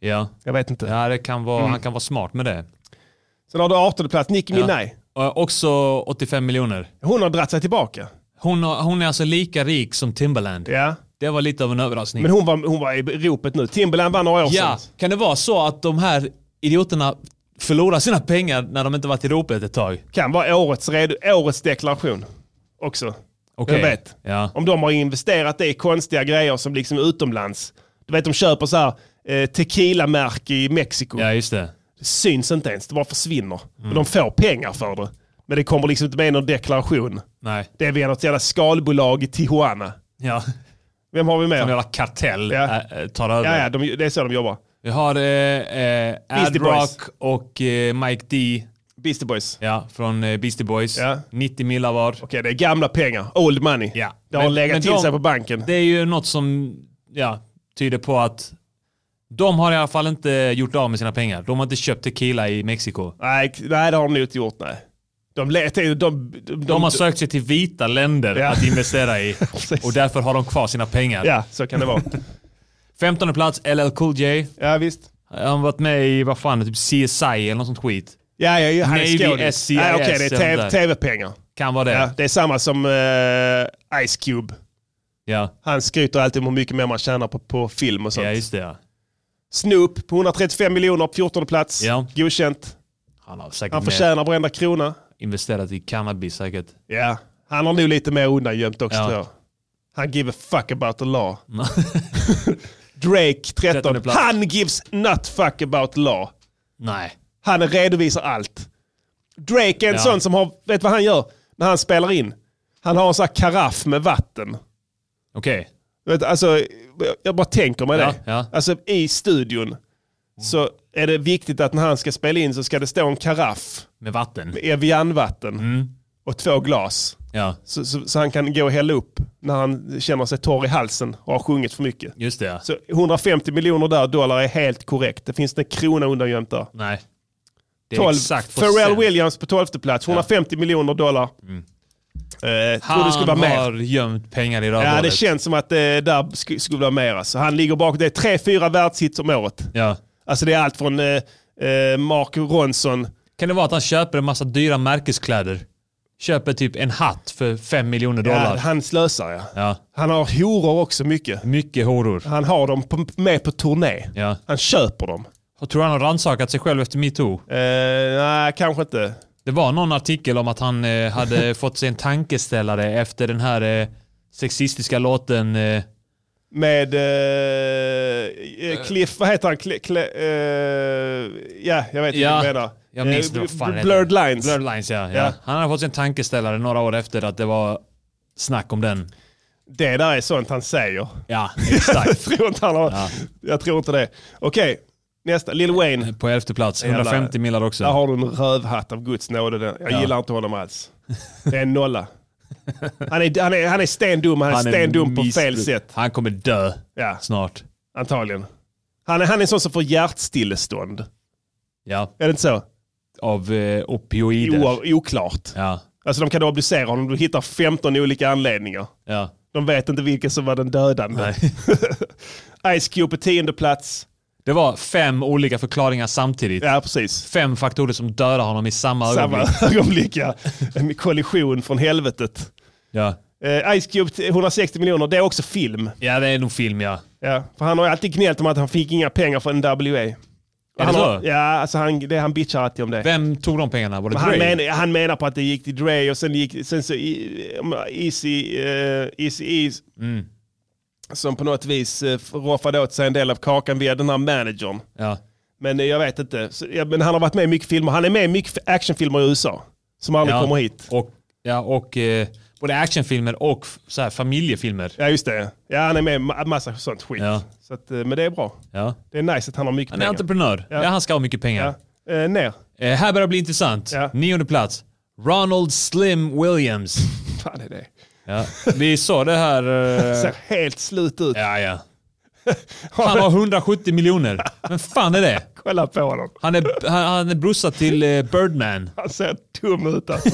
Ja,
Jag vet inte.
ja det kan
Mm.
vara, han kan vara smart med det.
Sen har du 18 plats, Nicki
Ja.
Minaj.
Och också 85 miljoner.
Hon har dratt sig tillbaka.
Hon, har- hon är alltså lika rik som Timbaland.
Ja.
Det var lite av en överraskning.
Men hon var, hon var i ropet nu. Timbaland vann några år
ja,
sedan.
kan det vara så att de här idioterna förlorar sina pengar när de inte varit i ropet ett tag?
Kan vara årets, redo, årets deklaration också.
Okej.
Jag vet.
Ja.
Om de har investerat det i konstiga grejer som liksom utomlands. Du vet de köper så här eh, tequila-märke i Mexiko.
ja, Mm. just det.
Det syns inte ens, det bara försvinner. Och de får pengar för det. Men det kommer liksom inte med någon deklaration.
Nej.
Det är via något jävla skalbolag i Tijuana.
Ja.
Vem har vi
En
mer?
jävla kartell
Ja.
äh, äh, tar över.
Ja, ja, de, det är så de jobbar.
Vi har eh, eh, Ad
Beastie Boys.
Rock och eh, Mike D
Beastie Boys.
ja, från eh, Beastie Boys.
Ja.
90 millar var.
Okej, det är gamla pengar. Old money.
Ja.
Det har
Men-
legat
men
till
de-
sig på banken.
Det är ju något som ja, tyder på att de har i alla fall inte gjort av med sina pengar. De har inte köpt tequila i Mexiko.
Nej, k- nej, det har de nog inte gjort. Nej. De, le- de, de, de,
De har sökt sig till vita länder
Ja.
att
*laughs*
investera i och därför har de kvar sina pengar.
Ja, så kan det
*laughs*
vara.
15 plats, LL Cool J.
ja, visst.
Han har varit med i, vad fan, typ CSI eller något sånt skit.
Ja, ja, ja, han
Navy,
är skådis.
SCIS,
Nej, Okej, det är
den
TV
där.
tv-pengar.
Kan vara det.
Ja,
Ja.
det är samma som eh, Ice Cube.
Ja,
Han skryter alltid om hur mycket mer man tjänar på, på film och sånt.
just det ja.
Snoop på 135 miljoner på 14 plats.
Ja.
Godkänt.
Han har säkert
Han förtjänar varenda krona.
investerat i cannabis säkert.
Ja, han har nog lite mer undangömt också
Ja.
tror jag. Han give a fuck about the
*laughs*
law. Drake 13.
plats.
Han gives not fuck about the law.
Nej.
Han redovisar allt. Drake är en
Ja.
sån som har, vet vad han gör när han spelar in? Han har en sån här karaff med vatten.
Okej.
Vet, alltså, jag bara tänker mig
Ja,
det. Alltså i studion så är det viktigt att när han ska spela in så ska det stå en karaff.
Med vatten.
Med Evianvatten.
Mm.
Och två glas.
Ja.
Så, så, så han kan gå och hälla upp när han känner sig torr i halsen och har sjungit för mycket.
Just det.
Så 150 miljoner där dollar är helt korrekt. Det finns inte en krona undangömt där.
Nej. Det är
12.
exakt på
Pharrell
sen.
Williams på 12 plats. 150 miljoner dollar.
Mm.
Eh, tror det skulle vara
Han
mer.
har gömt pengar i
Ja,
rövhålet.
det känns som att det där sk- skulle vara mer. Alltså. Han ligger bakom. Det är tre, fyra världshits om året.
Ja.
Alltså det är allt från eh, eh, Mark Ronson.
Kan det vara att han köper en massa dyra märkeskläder? Köper typ en hatt för 5 miljoner dollar.
Ja, han slösar ja.
Ja.
Han har horor också mycket.
Mycket horor.
Han har dem på, med på turné.
Ja.
Han köper dem. Eh,
Jag tror han har rannsakat sig själv efter metoo.
nej, kanske inte.
Det var någon artikel om att han eh, hade *laughs* fått sig en tankeställare efter den här eh, sexistiska låten. Eh,
Med eh, eh, Cliff, vad heter han? Cl- Cl- eh, ja, jag vet inte
Ja,
vad du menar.
jag
Eh,
minns inte vad fan det
Blurred
heter.
Lines.
Blurred Lines ja, ja.
Ja.
Han hade fått sig en tankeställare några år efter att det var snack om den.
Det där är sånt han säger.
Ja,
*laughs*
exakt.
jag, tror inte han har, jag tror inte det. Okej, nästa. Lil Wayne.
På elfte plats, 150 millar också.
Där har du en rövhatt av guds nåde. Den- Jag
Ja.
gillar inte honom alls. Det är en nolla. Han är, han är, han är stendum, han, är stendum på fel
missbruk-
sätt.
Han kommer dö
Ja.
snart.
Antagligen. Han är, han är en sån som får hjärtstillestånd.
Ja.
Är det inte så?
Av eh, opioider.
O, oklart.
Ja.
Alltså de kan obducera honom, du hittar 15 olika anledningar.
Ja.
De vet inte vilken som var den dödande. *laughs* Ice Cube på tionde plats.
Det var fem olika förklaringar samtidigt.
Ja, precis.
Fem faktorer som dödar honom i samma,
Samma
ögonblick.
ögonblick ja. En kollision från helvetet.
Ja.
Eh, Ice Cube t- 160 miljoner, det är också film.
ja, det är nog film ja.
Ja, för han har ju alltid gnällt om att han fick inga pengar från NWA. Är
det
han
så?
har, ja, alltså han, det, han bitchar alltid om det.
Vem tog de pengarna? Var det
Men han,
Dre?
men, han menar på att det gick till Dre och sen gick sen så i- om- Easy eh, Easy Ease
Mm.
som på något vis eh, roffade åt sig en del av kakan via den här managern.
Ja.
Men eh, jag vet inte. Så, ja, men han har varit med i mycket filmer. Han är med i mycket actionfilmer i USA som aldrig
ja.
kommer hit.
Och, ja, och eh, både actionfilmer och f- så här, familjefilmer.
Ja just det. Ja han är med i ma- massa sånt skit.
Ja.
Så att, eh, men det är bra.
Ja.
Det är nice att han har mycket
Han är
pengar.
entreprenör. Ja.
Ja.
han ska ha mycket pengar.
Eh, ner.
Eh, här börjar det bli intressant. Nionde plats. Ronald Slim Williams.
Fan är det.
Ja. Vi sa det här... eh, *laughs*
Ser helt slut ut.
Ja, ja. Han *laughs* har 170 miljoner. Men fan är det?
Kolla på honom.
Han är, han, han är brorsa till eh, Birdman.
Han ser dum ut alltså.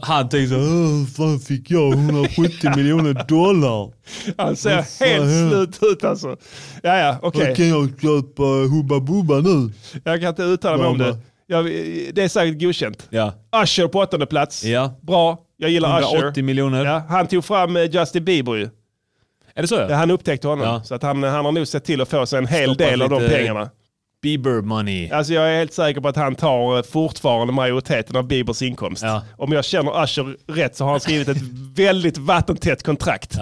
Han tänkte så här, "Åh, fan fick jag 170 *laughs* miljoner dollar?
Han ser
Vad fan
helt
är det?
slut ut alltså. Ja, ja, okej.
Kan jag köpa Hubba Bubba nu?
Jag kan inte uttala mig om det. Jag, det är säkert godkänt.
Ja.
Usher på åttonde plats.
Ja.
Bra, jag gillar Usher.
180 miljoner.
Ja, han tog fram eh, Justin Bieber ju.
Är det så?
Ja, han upptäckte honom.
Ja.
Så att han, han har nog sett till att få sig en hel
Stoppat
del av de
lite
pengarna.
Bieber money.
Alltså jag är helt säker på att han tar eh, fortfarande majoriteten av Biebers inkomst.
Ja.
Om jag känner Usher rätt så har han skrivit ett *laughs* väldigt vattentätt kontrakt.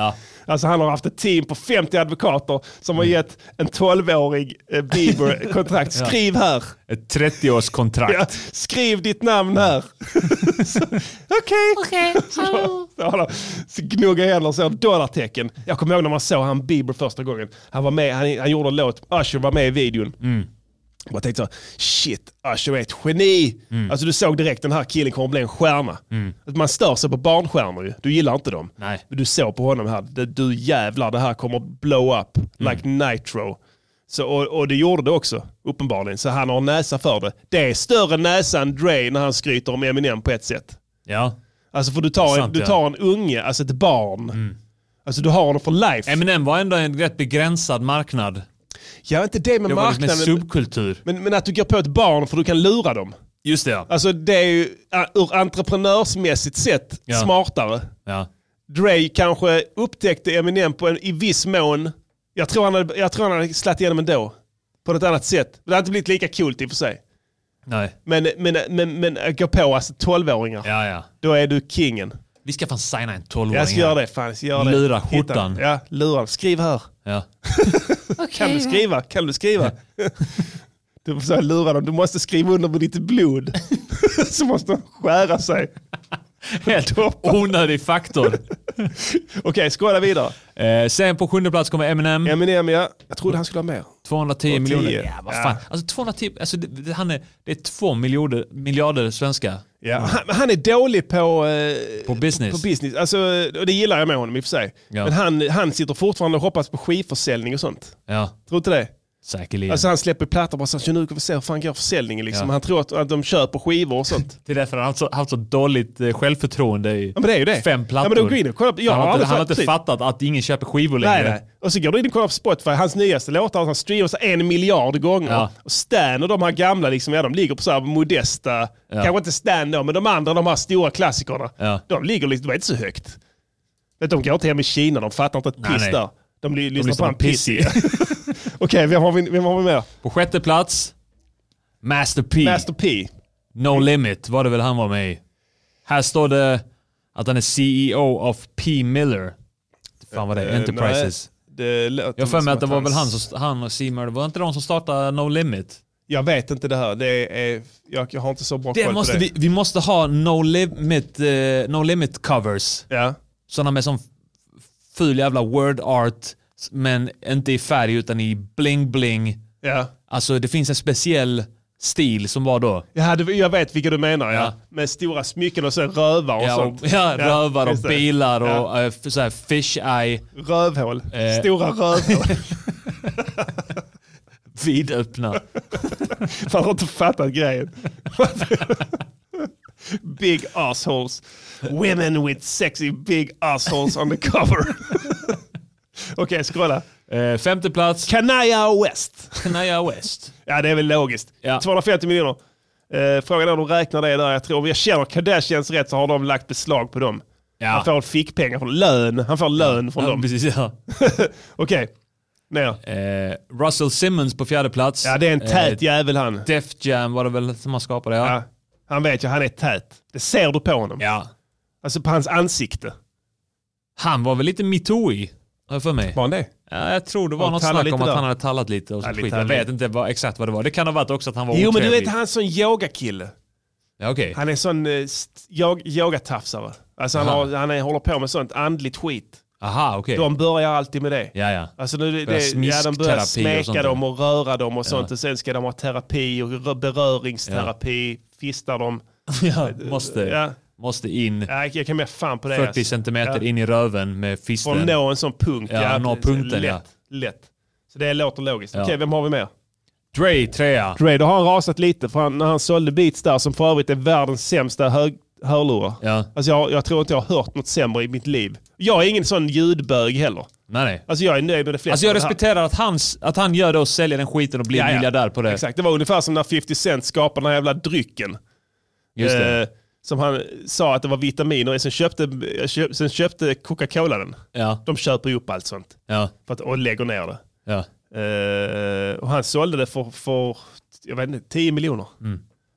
Alltså han har haft ett team på 50 advokater som har gett en 12-årig eh, Bieber kontrakt.
Ja.
Skriv här!
Ett 30-årskontrakt.
Ja, skriv ditt namn här. Så, Okej.
Okej.
*laughs* Så, så, så gnuggar jag och så dollartecken. Jag kommer ihåg när man såg han Bieber första gången. Han var med, han, han gjorde en låt, Usher var med i videon.
Mm.
Jag tänkte så, här, shit, Usher är ett geni. Alltså du såg direkt den här killen kommer bli en stjärna.
Mm.
Att man stör sig på barnstjärnor ju. Du gillar inte dem.
Nej.
Men Du såg på honom här, det- du jävlar det här kommer blow up
Mm.
like nitro. Så, och, och det gjorde det också, uppenbarligen. Så han har näsa för det. Det är större näsa än Dre när han skryter om Eminem på ett sätt.
Ja.
Alltså för du tar, en,
Sant,
du
ja. Mm.
tar en unge, alltså ett barn. Alltså du har honom för life.
Eminem var ändå en rätt begränsad marknad.
Ja, inte det med
Det var liksom en
marknaden.
subkultur.
Men, men att du går på ett barn för du kan lura dem.
Just det ja.
Alltså det är ju ä, ur entreprenörsmässigt sett
Ja.
smartare.
ja.
Dre kanske upptäckte Eminem på en, i viss mån. Jag tror han hade, jag tror han hade slagit igenom ändå. På något annat sätt. Men det hade inte blivit lika coolt i och för sig.
Nej.
Men, men, men, men att gå på alltså 12-åringar.
Ja, ja.
Då är du kingen.
Vi ska fan signa en 12-åring.
Jag ska göra det. Fan, jag ska göra det.
Lura
Hitta-
skjortan.
Ja, lura. Skriv här.
Ja.
Kan du skriva? Kan du skriva? *laughs* Du försöker lura dem. Du måste skriva under med ditt blod. *laughs* Så måste de skära sig.
Helt *laughs* onödig faktor.
Okej, skåla vidare.
Eh, sen på sjunde plats kommer Eminem.
Eminem ja. Jag trodde han skulle ha mer.
210 miljoner.
210.
Ja, vad fan.
Ja.
Alltså 210, alltså det, det, han är, det är två miljarder, miljarder svenskar.
Ja. Han, han är dålig på, eh,
På business.
på business. Alltså, och det gillar jag med honom i och för sig.
Ja.
Men han, han sitter fortfarande och hoppas på skivförsäljning och sånt.
Ja,
Tror du inte det?
säkerligen.
Alltså han släpper plattor bara så här, nu ska vi se hur fan går försäljningen liksom.
Ja.
Han tror att, att de köper skivor och sånt.
det är därför han har haft så, haft så dåligt eh, självförtroende i
men det är ju det.
fem plattor.
Ja, men då går in och kollar på- jag
han
har
har inte,
aldrig
han har
fattat-
inte
precis.
fattat att ingen köper skivor
Nej,
längre.
nej. Och så går du in och kollar på Spotify, hans nyaste låtar, han streamas en miljard gånger.
Ja.
Och Stan och de här gamla, liksom, ja, de ligger på så här modesta, kanske inte Stan då, men de andra, de här stora klassikerna,
Ja.
de ligger liksom, de är inte så högt. Vet, du, de går inte hem i Kina, de fattar inte ett
Nej,
piss
nej.
där. De, li- lyssnar på
lyssnar
en
på Pissy.
pissig. *laughs* Okej, vem har vi vem har vi mer?
På sjätte plats, Master P.
Master P.
No Limit var det väl han var med i. Här står det att han är CEO of P. Miller. Fan vad det är,
Eh,
Enterprises.
nej, det låter
Jag har för
som
mig att det var väl han,
hans-
som, han och C. Miller, var det inte de som startade No Limit?
Jag vet inte det här, det är, jag, jag har inte så bra
Det
koll på
måste
det.
vi, vi måste ha No Limit, eh, no limit covers.
Ja.
Sådana med sån ful jävla word art, men inte i färg utan i bling-bling.
Ja.
Alltså det finns en speciell stil som var då.
Ja, det, jag vet vilka du menar ja. Med stora smycken och så rövar och
Ja, och,
sånt.
ja, rövar och
just det.
bilar och
Ja.
eh, f- så här fish eye.
Rövhål.
Eh.
Stora rövhål. *laughs*
Vidöppna.
Man har inte fattat grejen. *laughs* big assholes. Women with sexy big assholes on the cover. *laughs* Okej, scrolla.
Eh, femte plats.
Kanaya West.
Kanaya West.
Ja, det är väl logiskt. 250 miljoner. Eh, frågan är om de räknar det där. Jag tror, om jag känner Kardashians rätt så har de lagt beslag på dem.
Ja.
Han får fickpengar från lön. Han får lön från
Ja,
dem.
Precis, ja.
Okej, ner.
Eh, Russell Simmons på fjärde plats. Eh,
Ja, det är en tät jävel han.
Def Jam var det väl som han skapade, ja.
Han vet ju, han är tät. Det ser du på honom.
Ja.
Alltså på hans ansikte.
Han var väl lite metoo-ig, har jag för mig.
Var han det?
Ja, jag tror det var
Han
något
tallade
snack om
lite där.
att han hade tallat lite och så
Ja, lite
skit. Jag
hade-
vet inte vad, exakt vad det var. Det kan ha varit också att han var
Jo men du
otrevlig.
vet han är sån yogakille.
Ja, okej.
Han är sån eh, st- yog- yogatafsare. Alltså han,
Aha.
har, han är, håller på med sånt andligt skit.
Aha, okej.
De börjar alltid med det.
Ja, ja.
Alltså nu, det,
Börjar
det, ja, de börjar
smiskterapi och sånt
smeka
där.
dem och röra dem och sånt.
Ja.
Och sen ska de ha terapi och rö- beröringsterapi. Fista dem.
ja, måste,
Ja.
måste in
Ja, jag kan mer fan på det.
40
alltså.
centimeter
Ja.
in i röven med
För
fisten.
att nå en sån punkt.
Ja, nå punkten,
lätt,
ja.
lätt. Så det låter logiskt.
Ja.
Okej, vem har vi mer?
Dre trea.
Dre, då har han rasat lite för han, när han sålde Beats där som för övrigt är världens sämsta hög, hörlurar.
Ja.
Alltså jag, jag tror inte jag har hört något sämre i mitt liv. Jag är ingen sån ljudbög heller.
Nej, nej.
Alltså jag är nöjd med det flesta.
Alltså jag
av det här.
respekterar att, hans, att han gör det och säljer den skiten och blir
Ja, ja.
miljardär på det.
Exakt, det var ungefär som när 50 Cent skapade den här jävla drycken.
Just det.
Eh, som han sa att det var vitaminer i. Sen köpte, köp, sen köpte Coca-Cola den.
Ja.
De köper ju upp allt sånt.
Ja.
För att, och lägger ner det.
Ja.
Eh, och han sålde det för, för jag vet inte, 10 miljoner.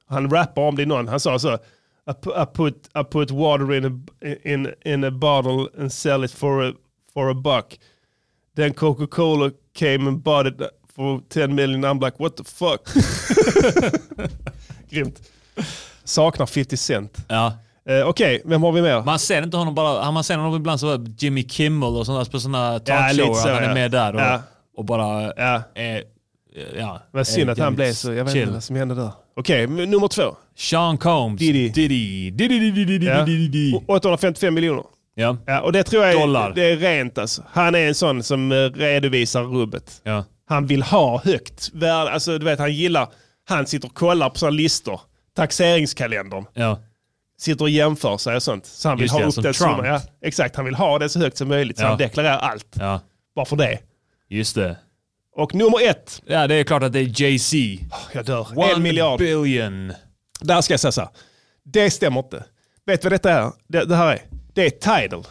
Han rappar om det i någon. Han sa så. I pu- I put, I put water in a, in, in a bottle and sell it for a, for a buck. Then Coca-Cola came and bought it for 10 million. I'm like what the fuck. *laughs* Grymt. Saknar 50 cent.
Ja.
Eh, Okej, vem har vi mer?
Man ser inte honom bara, han- man ser honom ibland så här Jimmy Kimmel och sådana på sådana talkshower,
lite så,
att han är
ja.
med där och,
Ja.
och bara...
Ja.
Eh, ja.
Vad synd
eh,
att han blev så, jag vet
chill.
inte vad som hände där. Okej, men nummer två.
Sean Combs.
Diddy.
Diddy. Diddy, Diddy, Diddy,
Ja.
Diddy, Diddy.
O- 855 miljoner.
Ja.
Ja, och det tror jag
Dollar.
är, det är rent alltså. Han är en sån som eh, redovisar rubbet.
Ja.
Han vill ha högt värde. Alltså du vet, han gillar, han sitter och kollar på sina listor. Taxeringskalendern.
Ja.
Sitter och jämför sig och sånt. Så han vill
Just
ha
det,
upp
som
den
Trump.
summan. Ja, exakt, han vill ha det så högt som möjligt. Så
Ja.
han deklarerar allt.
ja.
Bara för det.
Just det.
Och nummer ett.
Ja, det är klart att det är Jay-Z.
Jag dör.
One
en miljard.
billion.
Där ska jag säga så här. Det stämmer inte. Vet du vad detta är? Det, det här är? Det är Tidal.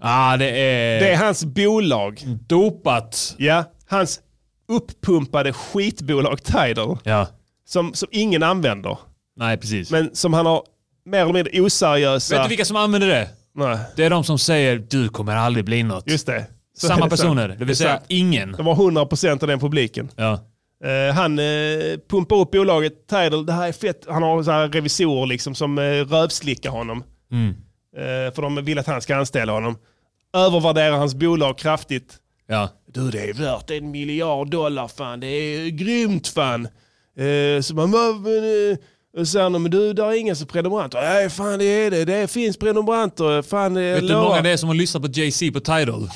Ah, det är...
Det är hans bolag.
Mm. Dopat.
Ja, hans upppumpade skitbolag Tidal
Ja.
som, som ingen använder.
Nej, precis.
Men som han har mer eller mindre oseriösa...
Vet du vilka som använder det?
Nej.
Det är de som säger du kommer aldrig bli något.
Just det. Så är
Samma
det sant.
personer, det
Det är
vill säga
sant.
ingen.
De var 100% av den publiken.
Ja.
Eh, han eh, pumpar upp bolaget Tidal, det här är fett. Han har så här revisorer liksom som eh, rövslickar honom.
Mm.
Eh, för de vill att han ska anställa honom. Övervärderar hans bolag kraftigt.
Ja.
Du det är värt en miljard dollar fan, det är grymt fan. Eh, så man bara, men, eh, och så här, men du där är inga som prenumeranter. Nej fan det är det, det finns prenumeranter. Fan, eh,
Vet du hur
lovar.
många det är som har lyssnat på JC på Tidal?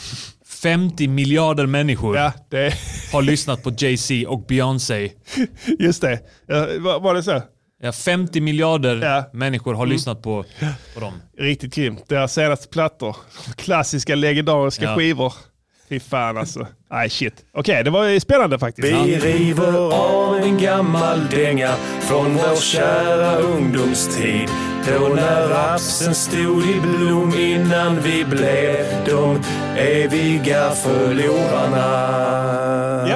50 miljarder människor har lyssnat på JC och Beyoncé.
*laughs* Just det, ja, var, var det så?
Ja, 50 miljarder människor har
Mm.
lyssnat på, på dem.
Riktigt grymt. Deras senaste plattor. Klassiska legendariska
Ja.
skivor. Fy fan alltså. Nej shit. Okej, det var ju spännande faktiskt.
Vi river av en gammal dänga från vår kära ungdomstid. Då när rapsen stod i blom innan vi blev de eviga förlorarna.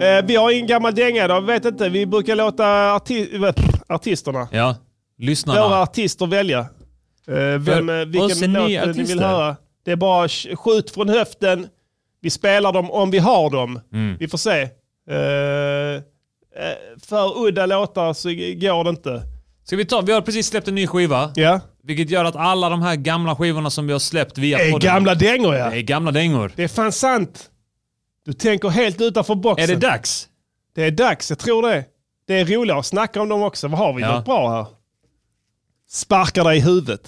Ja. Eh, vi har ingen gammal dänga idag, vet inte. Vi brukar låta arti- vad- artisterna,
Ja, lyssnarna.
våra artister välja. Eh, vem, eh,
oss är
vilken
ni
låt eh, ni vill
artister.
höra. Det är bara sk- skjut från höften. Vi spelar dem om vi har dem.
Mm.
Vi får se. Eh, eh, för udda låtar så g- går det inte.
Ska vi ta, vi har precis släppt en ny skiva.
Ja.
Vilket gör att alla de här gamla skivorna som vi har släppt via
Är
podden.
gamla dängor ja.
Det är gamla dängor.
Det är fan sant. Du tänker helt utanför boxen.
Är det dags?
Det är dags, jag tror det. Det är roligare att snacka om dem också. Vad har vi?
Ja.
Något bra här. Sparkar dig i huvudet.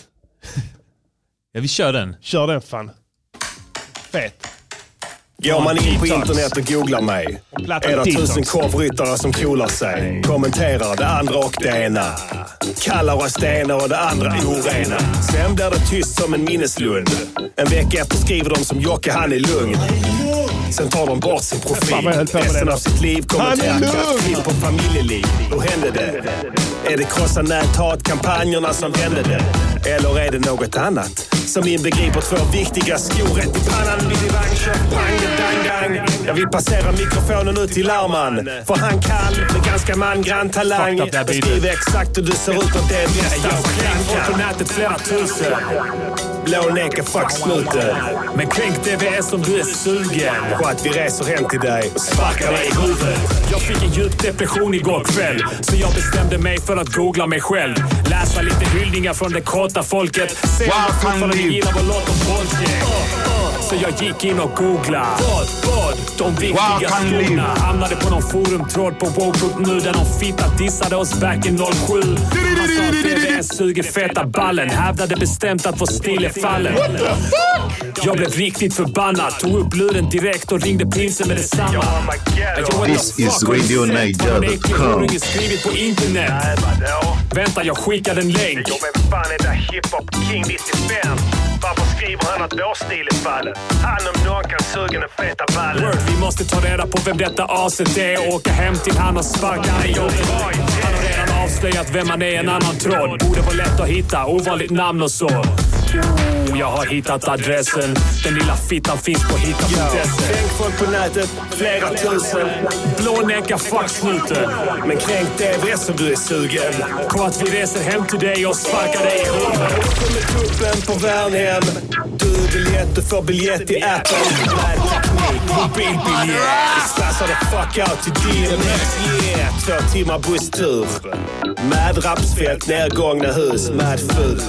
Ja, vi kör den.
Kör den fan. Fet.
Går man in på internet och googlar mig
Plattan
är det
Detox.
tusen korvryttare som kolar sig. Kommenterar det andra och det ena. Kallar oss det ena och det andra orena. Sen blir det tyst som en minneslund. En vecka efter skriver de som Jocke, han är lugn. Sen tar de bort sin
Fan, vad jag höll
profil.
på med
Resten
det.
av sitt liv kommenterar
Han är lugn!
kattfilm på familjeliv. Då hände det. Är det krossa Alltså, näthat-kampanjerna som vände det? Eller är det något annat? Som inbegriper två viktiga skor rätt i pannan. Vid i vagn, kör pang, dang, dang. Jag vill passera mikrofonen ut till Larman. För han kall med ganska mangrann talang.
Fuck that beat.
Beskriver exakt hur du ser ut och det är bästa Jag kan folk på nätet flera tusen. Blå näka, fuck snuten. Men kränk det vi är som du är sugen på att vi reser hem till dig och sparkar dig i huvudet.
Jag fick en djup depression igår kväll Så jag bestämde mig för att googla mig själv Läsa lite hyllningar från det kåta folket Se om jag fortfarande gillar vår låt om folket Så jag gick in och googlade Vad, vad, de
Wow,
viktiga
kan liv.
skorna Hamnade på någon forumtråd på woke.nu Där någon fitta dissade oss back in 07 Han sa att VVS suger feta ballen Hävdade bestämt att vår stil är fallen jag blev riktigt förbannad, tog upp luren direkt och ringde prinsen med detsamma.
This is RadioNiger.com.
Har ingen skrivit på internet? Vänta, jag skickar en länk.
Jag vem fan är det hiphop king visst är spänd? Varför skriver han att vår stil är fallen? Han om någon kan suga den feta ballen.
Word, vi måste ta reda på vem detta aset är och åka hem till han och sparka han i jobbet. Han har redan avslöjat vem han är i en annan tråd. Borde vara lätt att hitta, ovanligt namn och så. Jo, Jag har hittat adressen. Den lilla fittan finns på hitta.se.
Kränk folk på nätet, flera tusen.
Blånäcka fucksnuten.
Men kränk det vi är som du är sugen.
Kom att vi reser hem till dig och sparkar dig i huvudet.
Kommer kuppen på Värnhem. Du är biljett, du får biljett i appen. Närteknik, mobilbiljett. Vi slassar the fuck out till DMX. Yeah, två timmar busstur. Med rapsfält, nedgångna hus, mad food.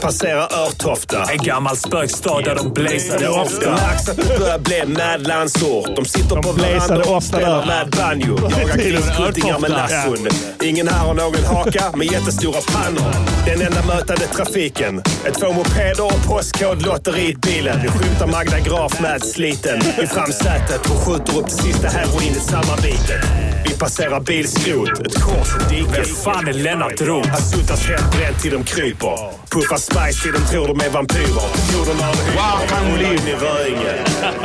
Passerar Örtofta.
En gammal spökstad där de blazade
Det
ofta.
märks att det börjar bli en mad landsort. De sitter på
blazade
varandra och
ofta
spelar
där.
mad banjo. Jagar killskjutningar med
Örtofta.
lasson. Ingen här har någon haka med jättestora pannor. Den enda mötande trafiken. Ett två mopeder och postkod lotteriet bilen. Nu skymtar Magda Graf med sliten i framsätet och skjuter upp det sista heroinet sammanbitet. Vi passerar bilskrot, ett kors och diket. Vem
fan är Lennart Roth?
Han suttas helt bränd till de kryper. Puffar spice till de tror de är vampyrer. Jorden har en Wow, han lever i Röinge.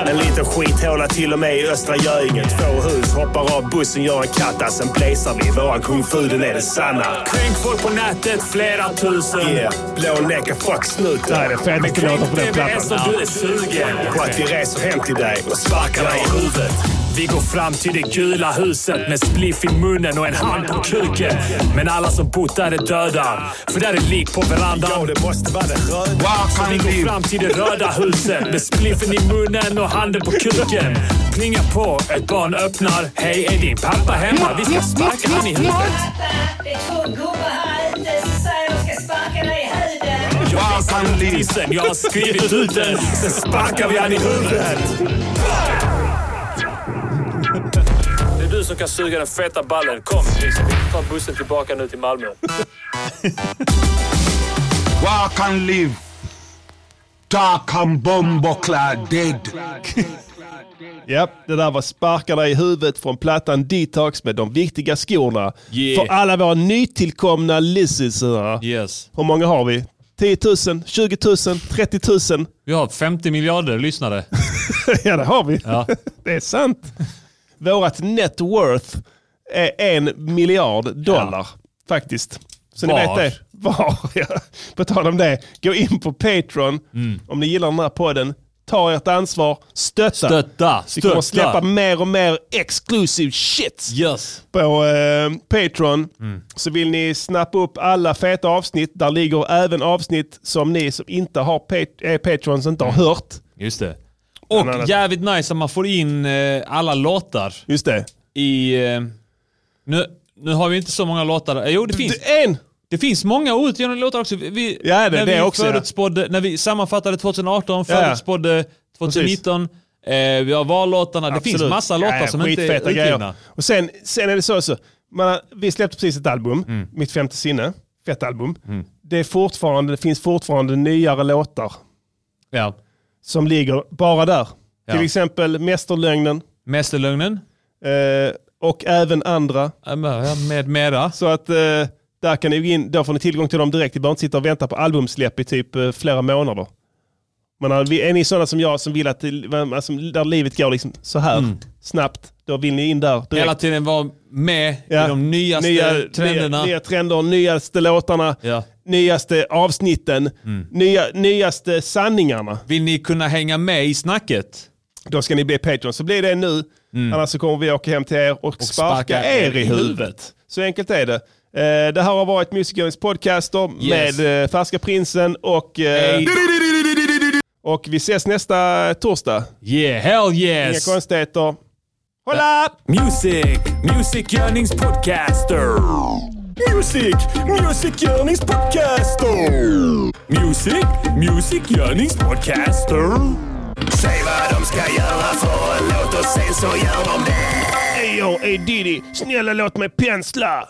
En liten skithåla till och med i Östra Göinge. Två hus, hoppar av bussen, gör en katta. Sen blazar vi. Våran kung fu, den är den sanna.
Kränk folk på nätet flera tusen.
Yeah, blånäcka fucksnuten.
Nej, det är fett mycket låtar på den plattan.
du är sugen
På att vi reser hem till dig och sparkar dig i huvudet.
Vi går fram till det gula huset med spliff i munnen och en hand på kuken. Men alla som bott där är döda, för där är lik på verandan. Ja, det måste vara det röda. Så vi går fram till det röda huset med spliffen i munnen och handen på kuken. Plingar på, ett barn öppnar. Hej, är din pappa hemma? Vi ska sparka han i huvudet.
Det är två gubbar här ute som säger de ska sparka dig i huvudet.
Jag visste om tissen, jag har skrivit ut den. Sen sparkar vi han i huvudet. Det är du som kan suga den feta ballen. Kom, Lisa. Vi tar bussen tillbaka nu till Malmö.
Where I can live. Dark and bomboclad dead.
Ja, det där var Sparkarna i huvudet från plattan Detox med de viktiga skorna.
Yeah.
För alla våra nytillkomna listenörer.
Yes.
Hur många har vi? 10 000, 20 000, 30 000?
Vi har 50 miljarder lyssnare.
ja, det har vi.
Ja.
*laughs* Det är sant. Vårat net worth är en miljard dollar faktiskt. Så ni
Var.
vet det. Var. *laughs* Ja. På tal om det, gå in på Patreon
Mm.
om ni gillar den här podden. Ta ert ansvar, stötta.
Stötta,
Vi kommer
stötta.
att släppa mer och mer exclusive shit
yes.
på eh, Patreon.
Mm.
Så vill ni snappa upp alla feta avsnitt. Där ligger även avsnitt som ni som inte har pat- är Patreons inte
Mm.
har hört.
Just det. Och
annat.
jävligt nice att man får in eh, alla låtar.
Just det.
I... eh, Nu, nu har vi inte så många låtar. Eh, Jo, det finns.
en!
Det finns många outgivna låtar också. Vi- Vi,
Ja, det-
när
det
vi
också, ja.
förutspådde, När vi sammanfattade 2018,
Ja, ja.
förutspådde 2019. Eh, vi har vallåtarna. Det finns
Absolut.
massa låtar
Ja, ja,
som inte är
skitfeta
utgivna.
grejer. Och sen, sen är det så också. Man, har- vi släppte precis ett album,
Mm.
Mitt femte sinne. Fett album. Det, är fortfarande, det finns fortfarande nyare låtar
Ja.
som ligger bara där.
Ja.
Till exempel Mästerlögnen.
Mästerlögnen.
Eh, och även andra.
Med mera.
Så att eh, där kan ni gå in, då får ni tillgång till dem direkt. Ni behöver inte sitta och vänta på albumsläpp i typ eh, flera månader. Men eh, vi- är ni sådana som jag som vill att, till- alltså, där livet går liksom så här snabbt, då vill ni in där direkt.
Mm. Hela tiden vara med
Ja.
i de nyaste
nya,
trenderna.
Nya, nya trender, nyaste låtarna, nyaste avsnitten,
Mm.
nya, nyaste sanningarna.
Vill ni kunna hänga med i snacket?
Då ska ni bli Patreon. Så blir det nu, annars så kommer vi åka hem till er och, sparka,
Mm. sparka
er i huvudet. Så enkelt är det. Eh, Det här har varit Musikerns podcaster
Yes.
med eh, Färska Prinsen och... eh,
Hej.
Och vi ses nästa torsdag.
Yeah, hell
Inga
yes!
konstigheter. Hålla!
Music, musikgörningspodcaster. Music, musikgörningspodcaster. Music, musikgörningspodcaster.
Säg vad de ska göra för en låt och sen så gör de det.
Ey yo, ey Diddy, snälla låt mig pensla!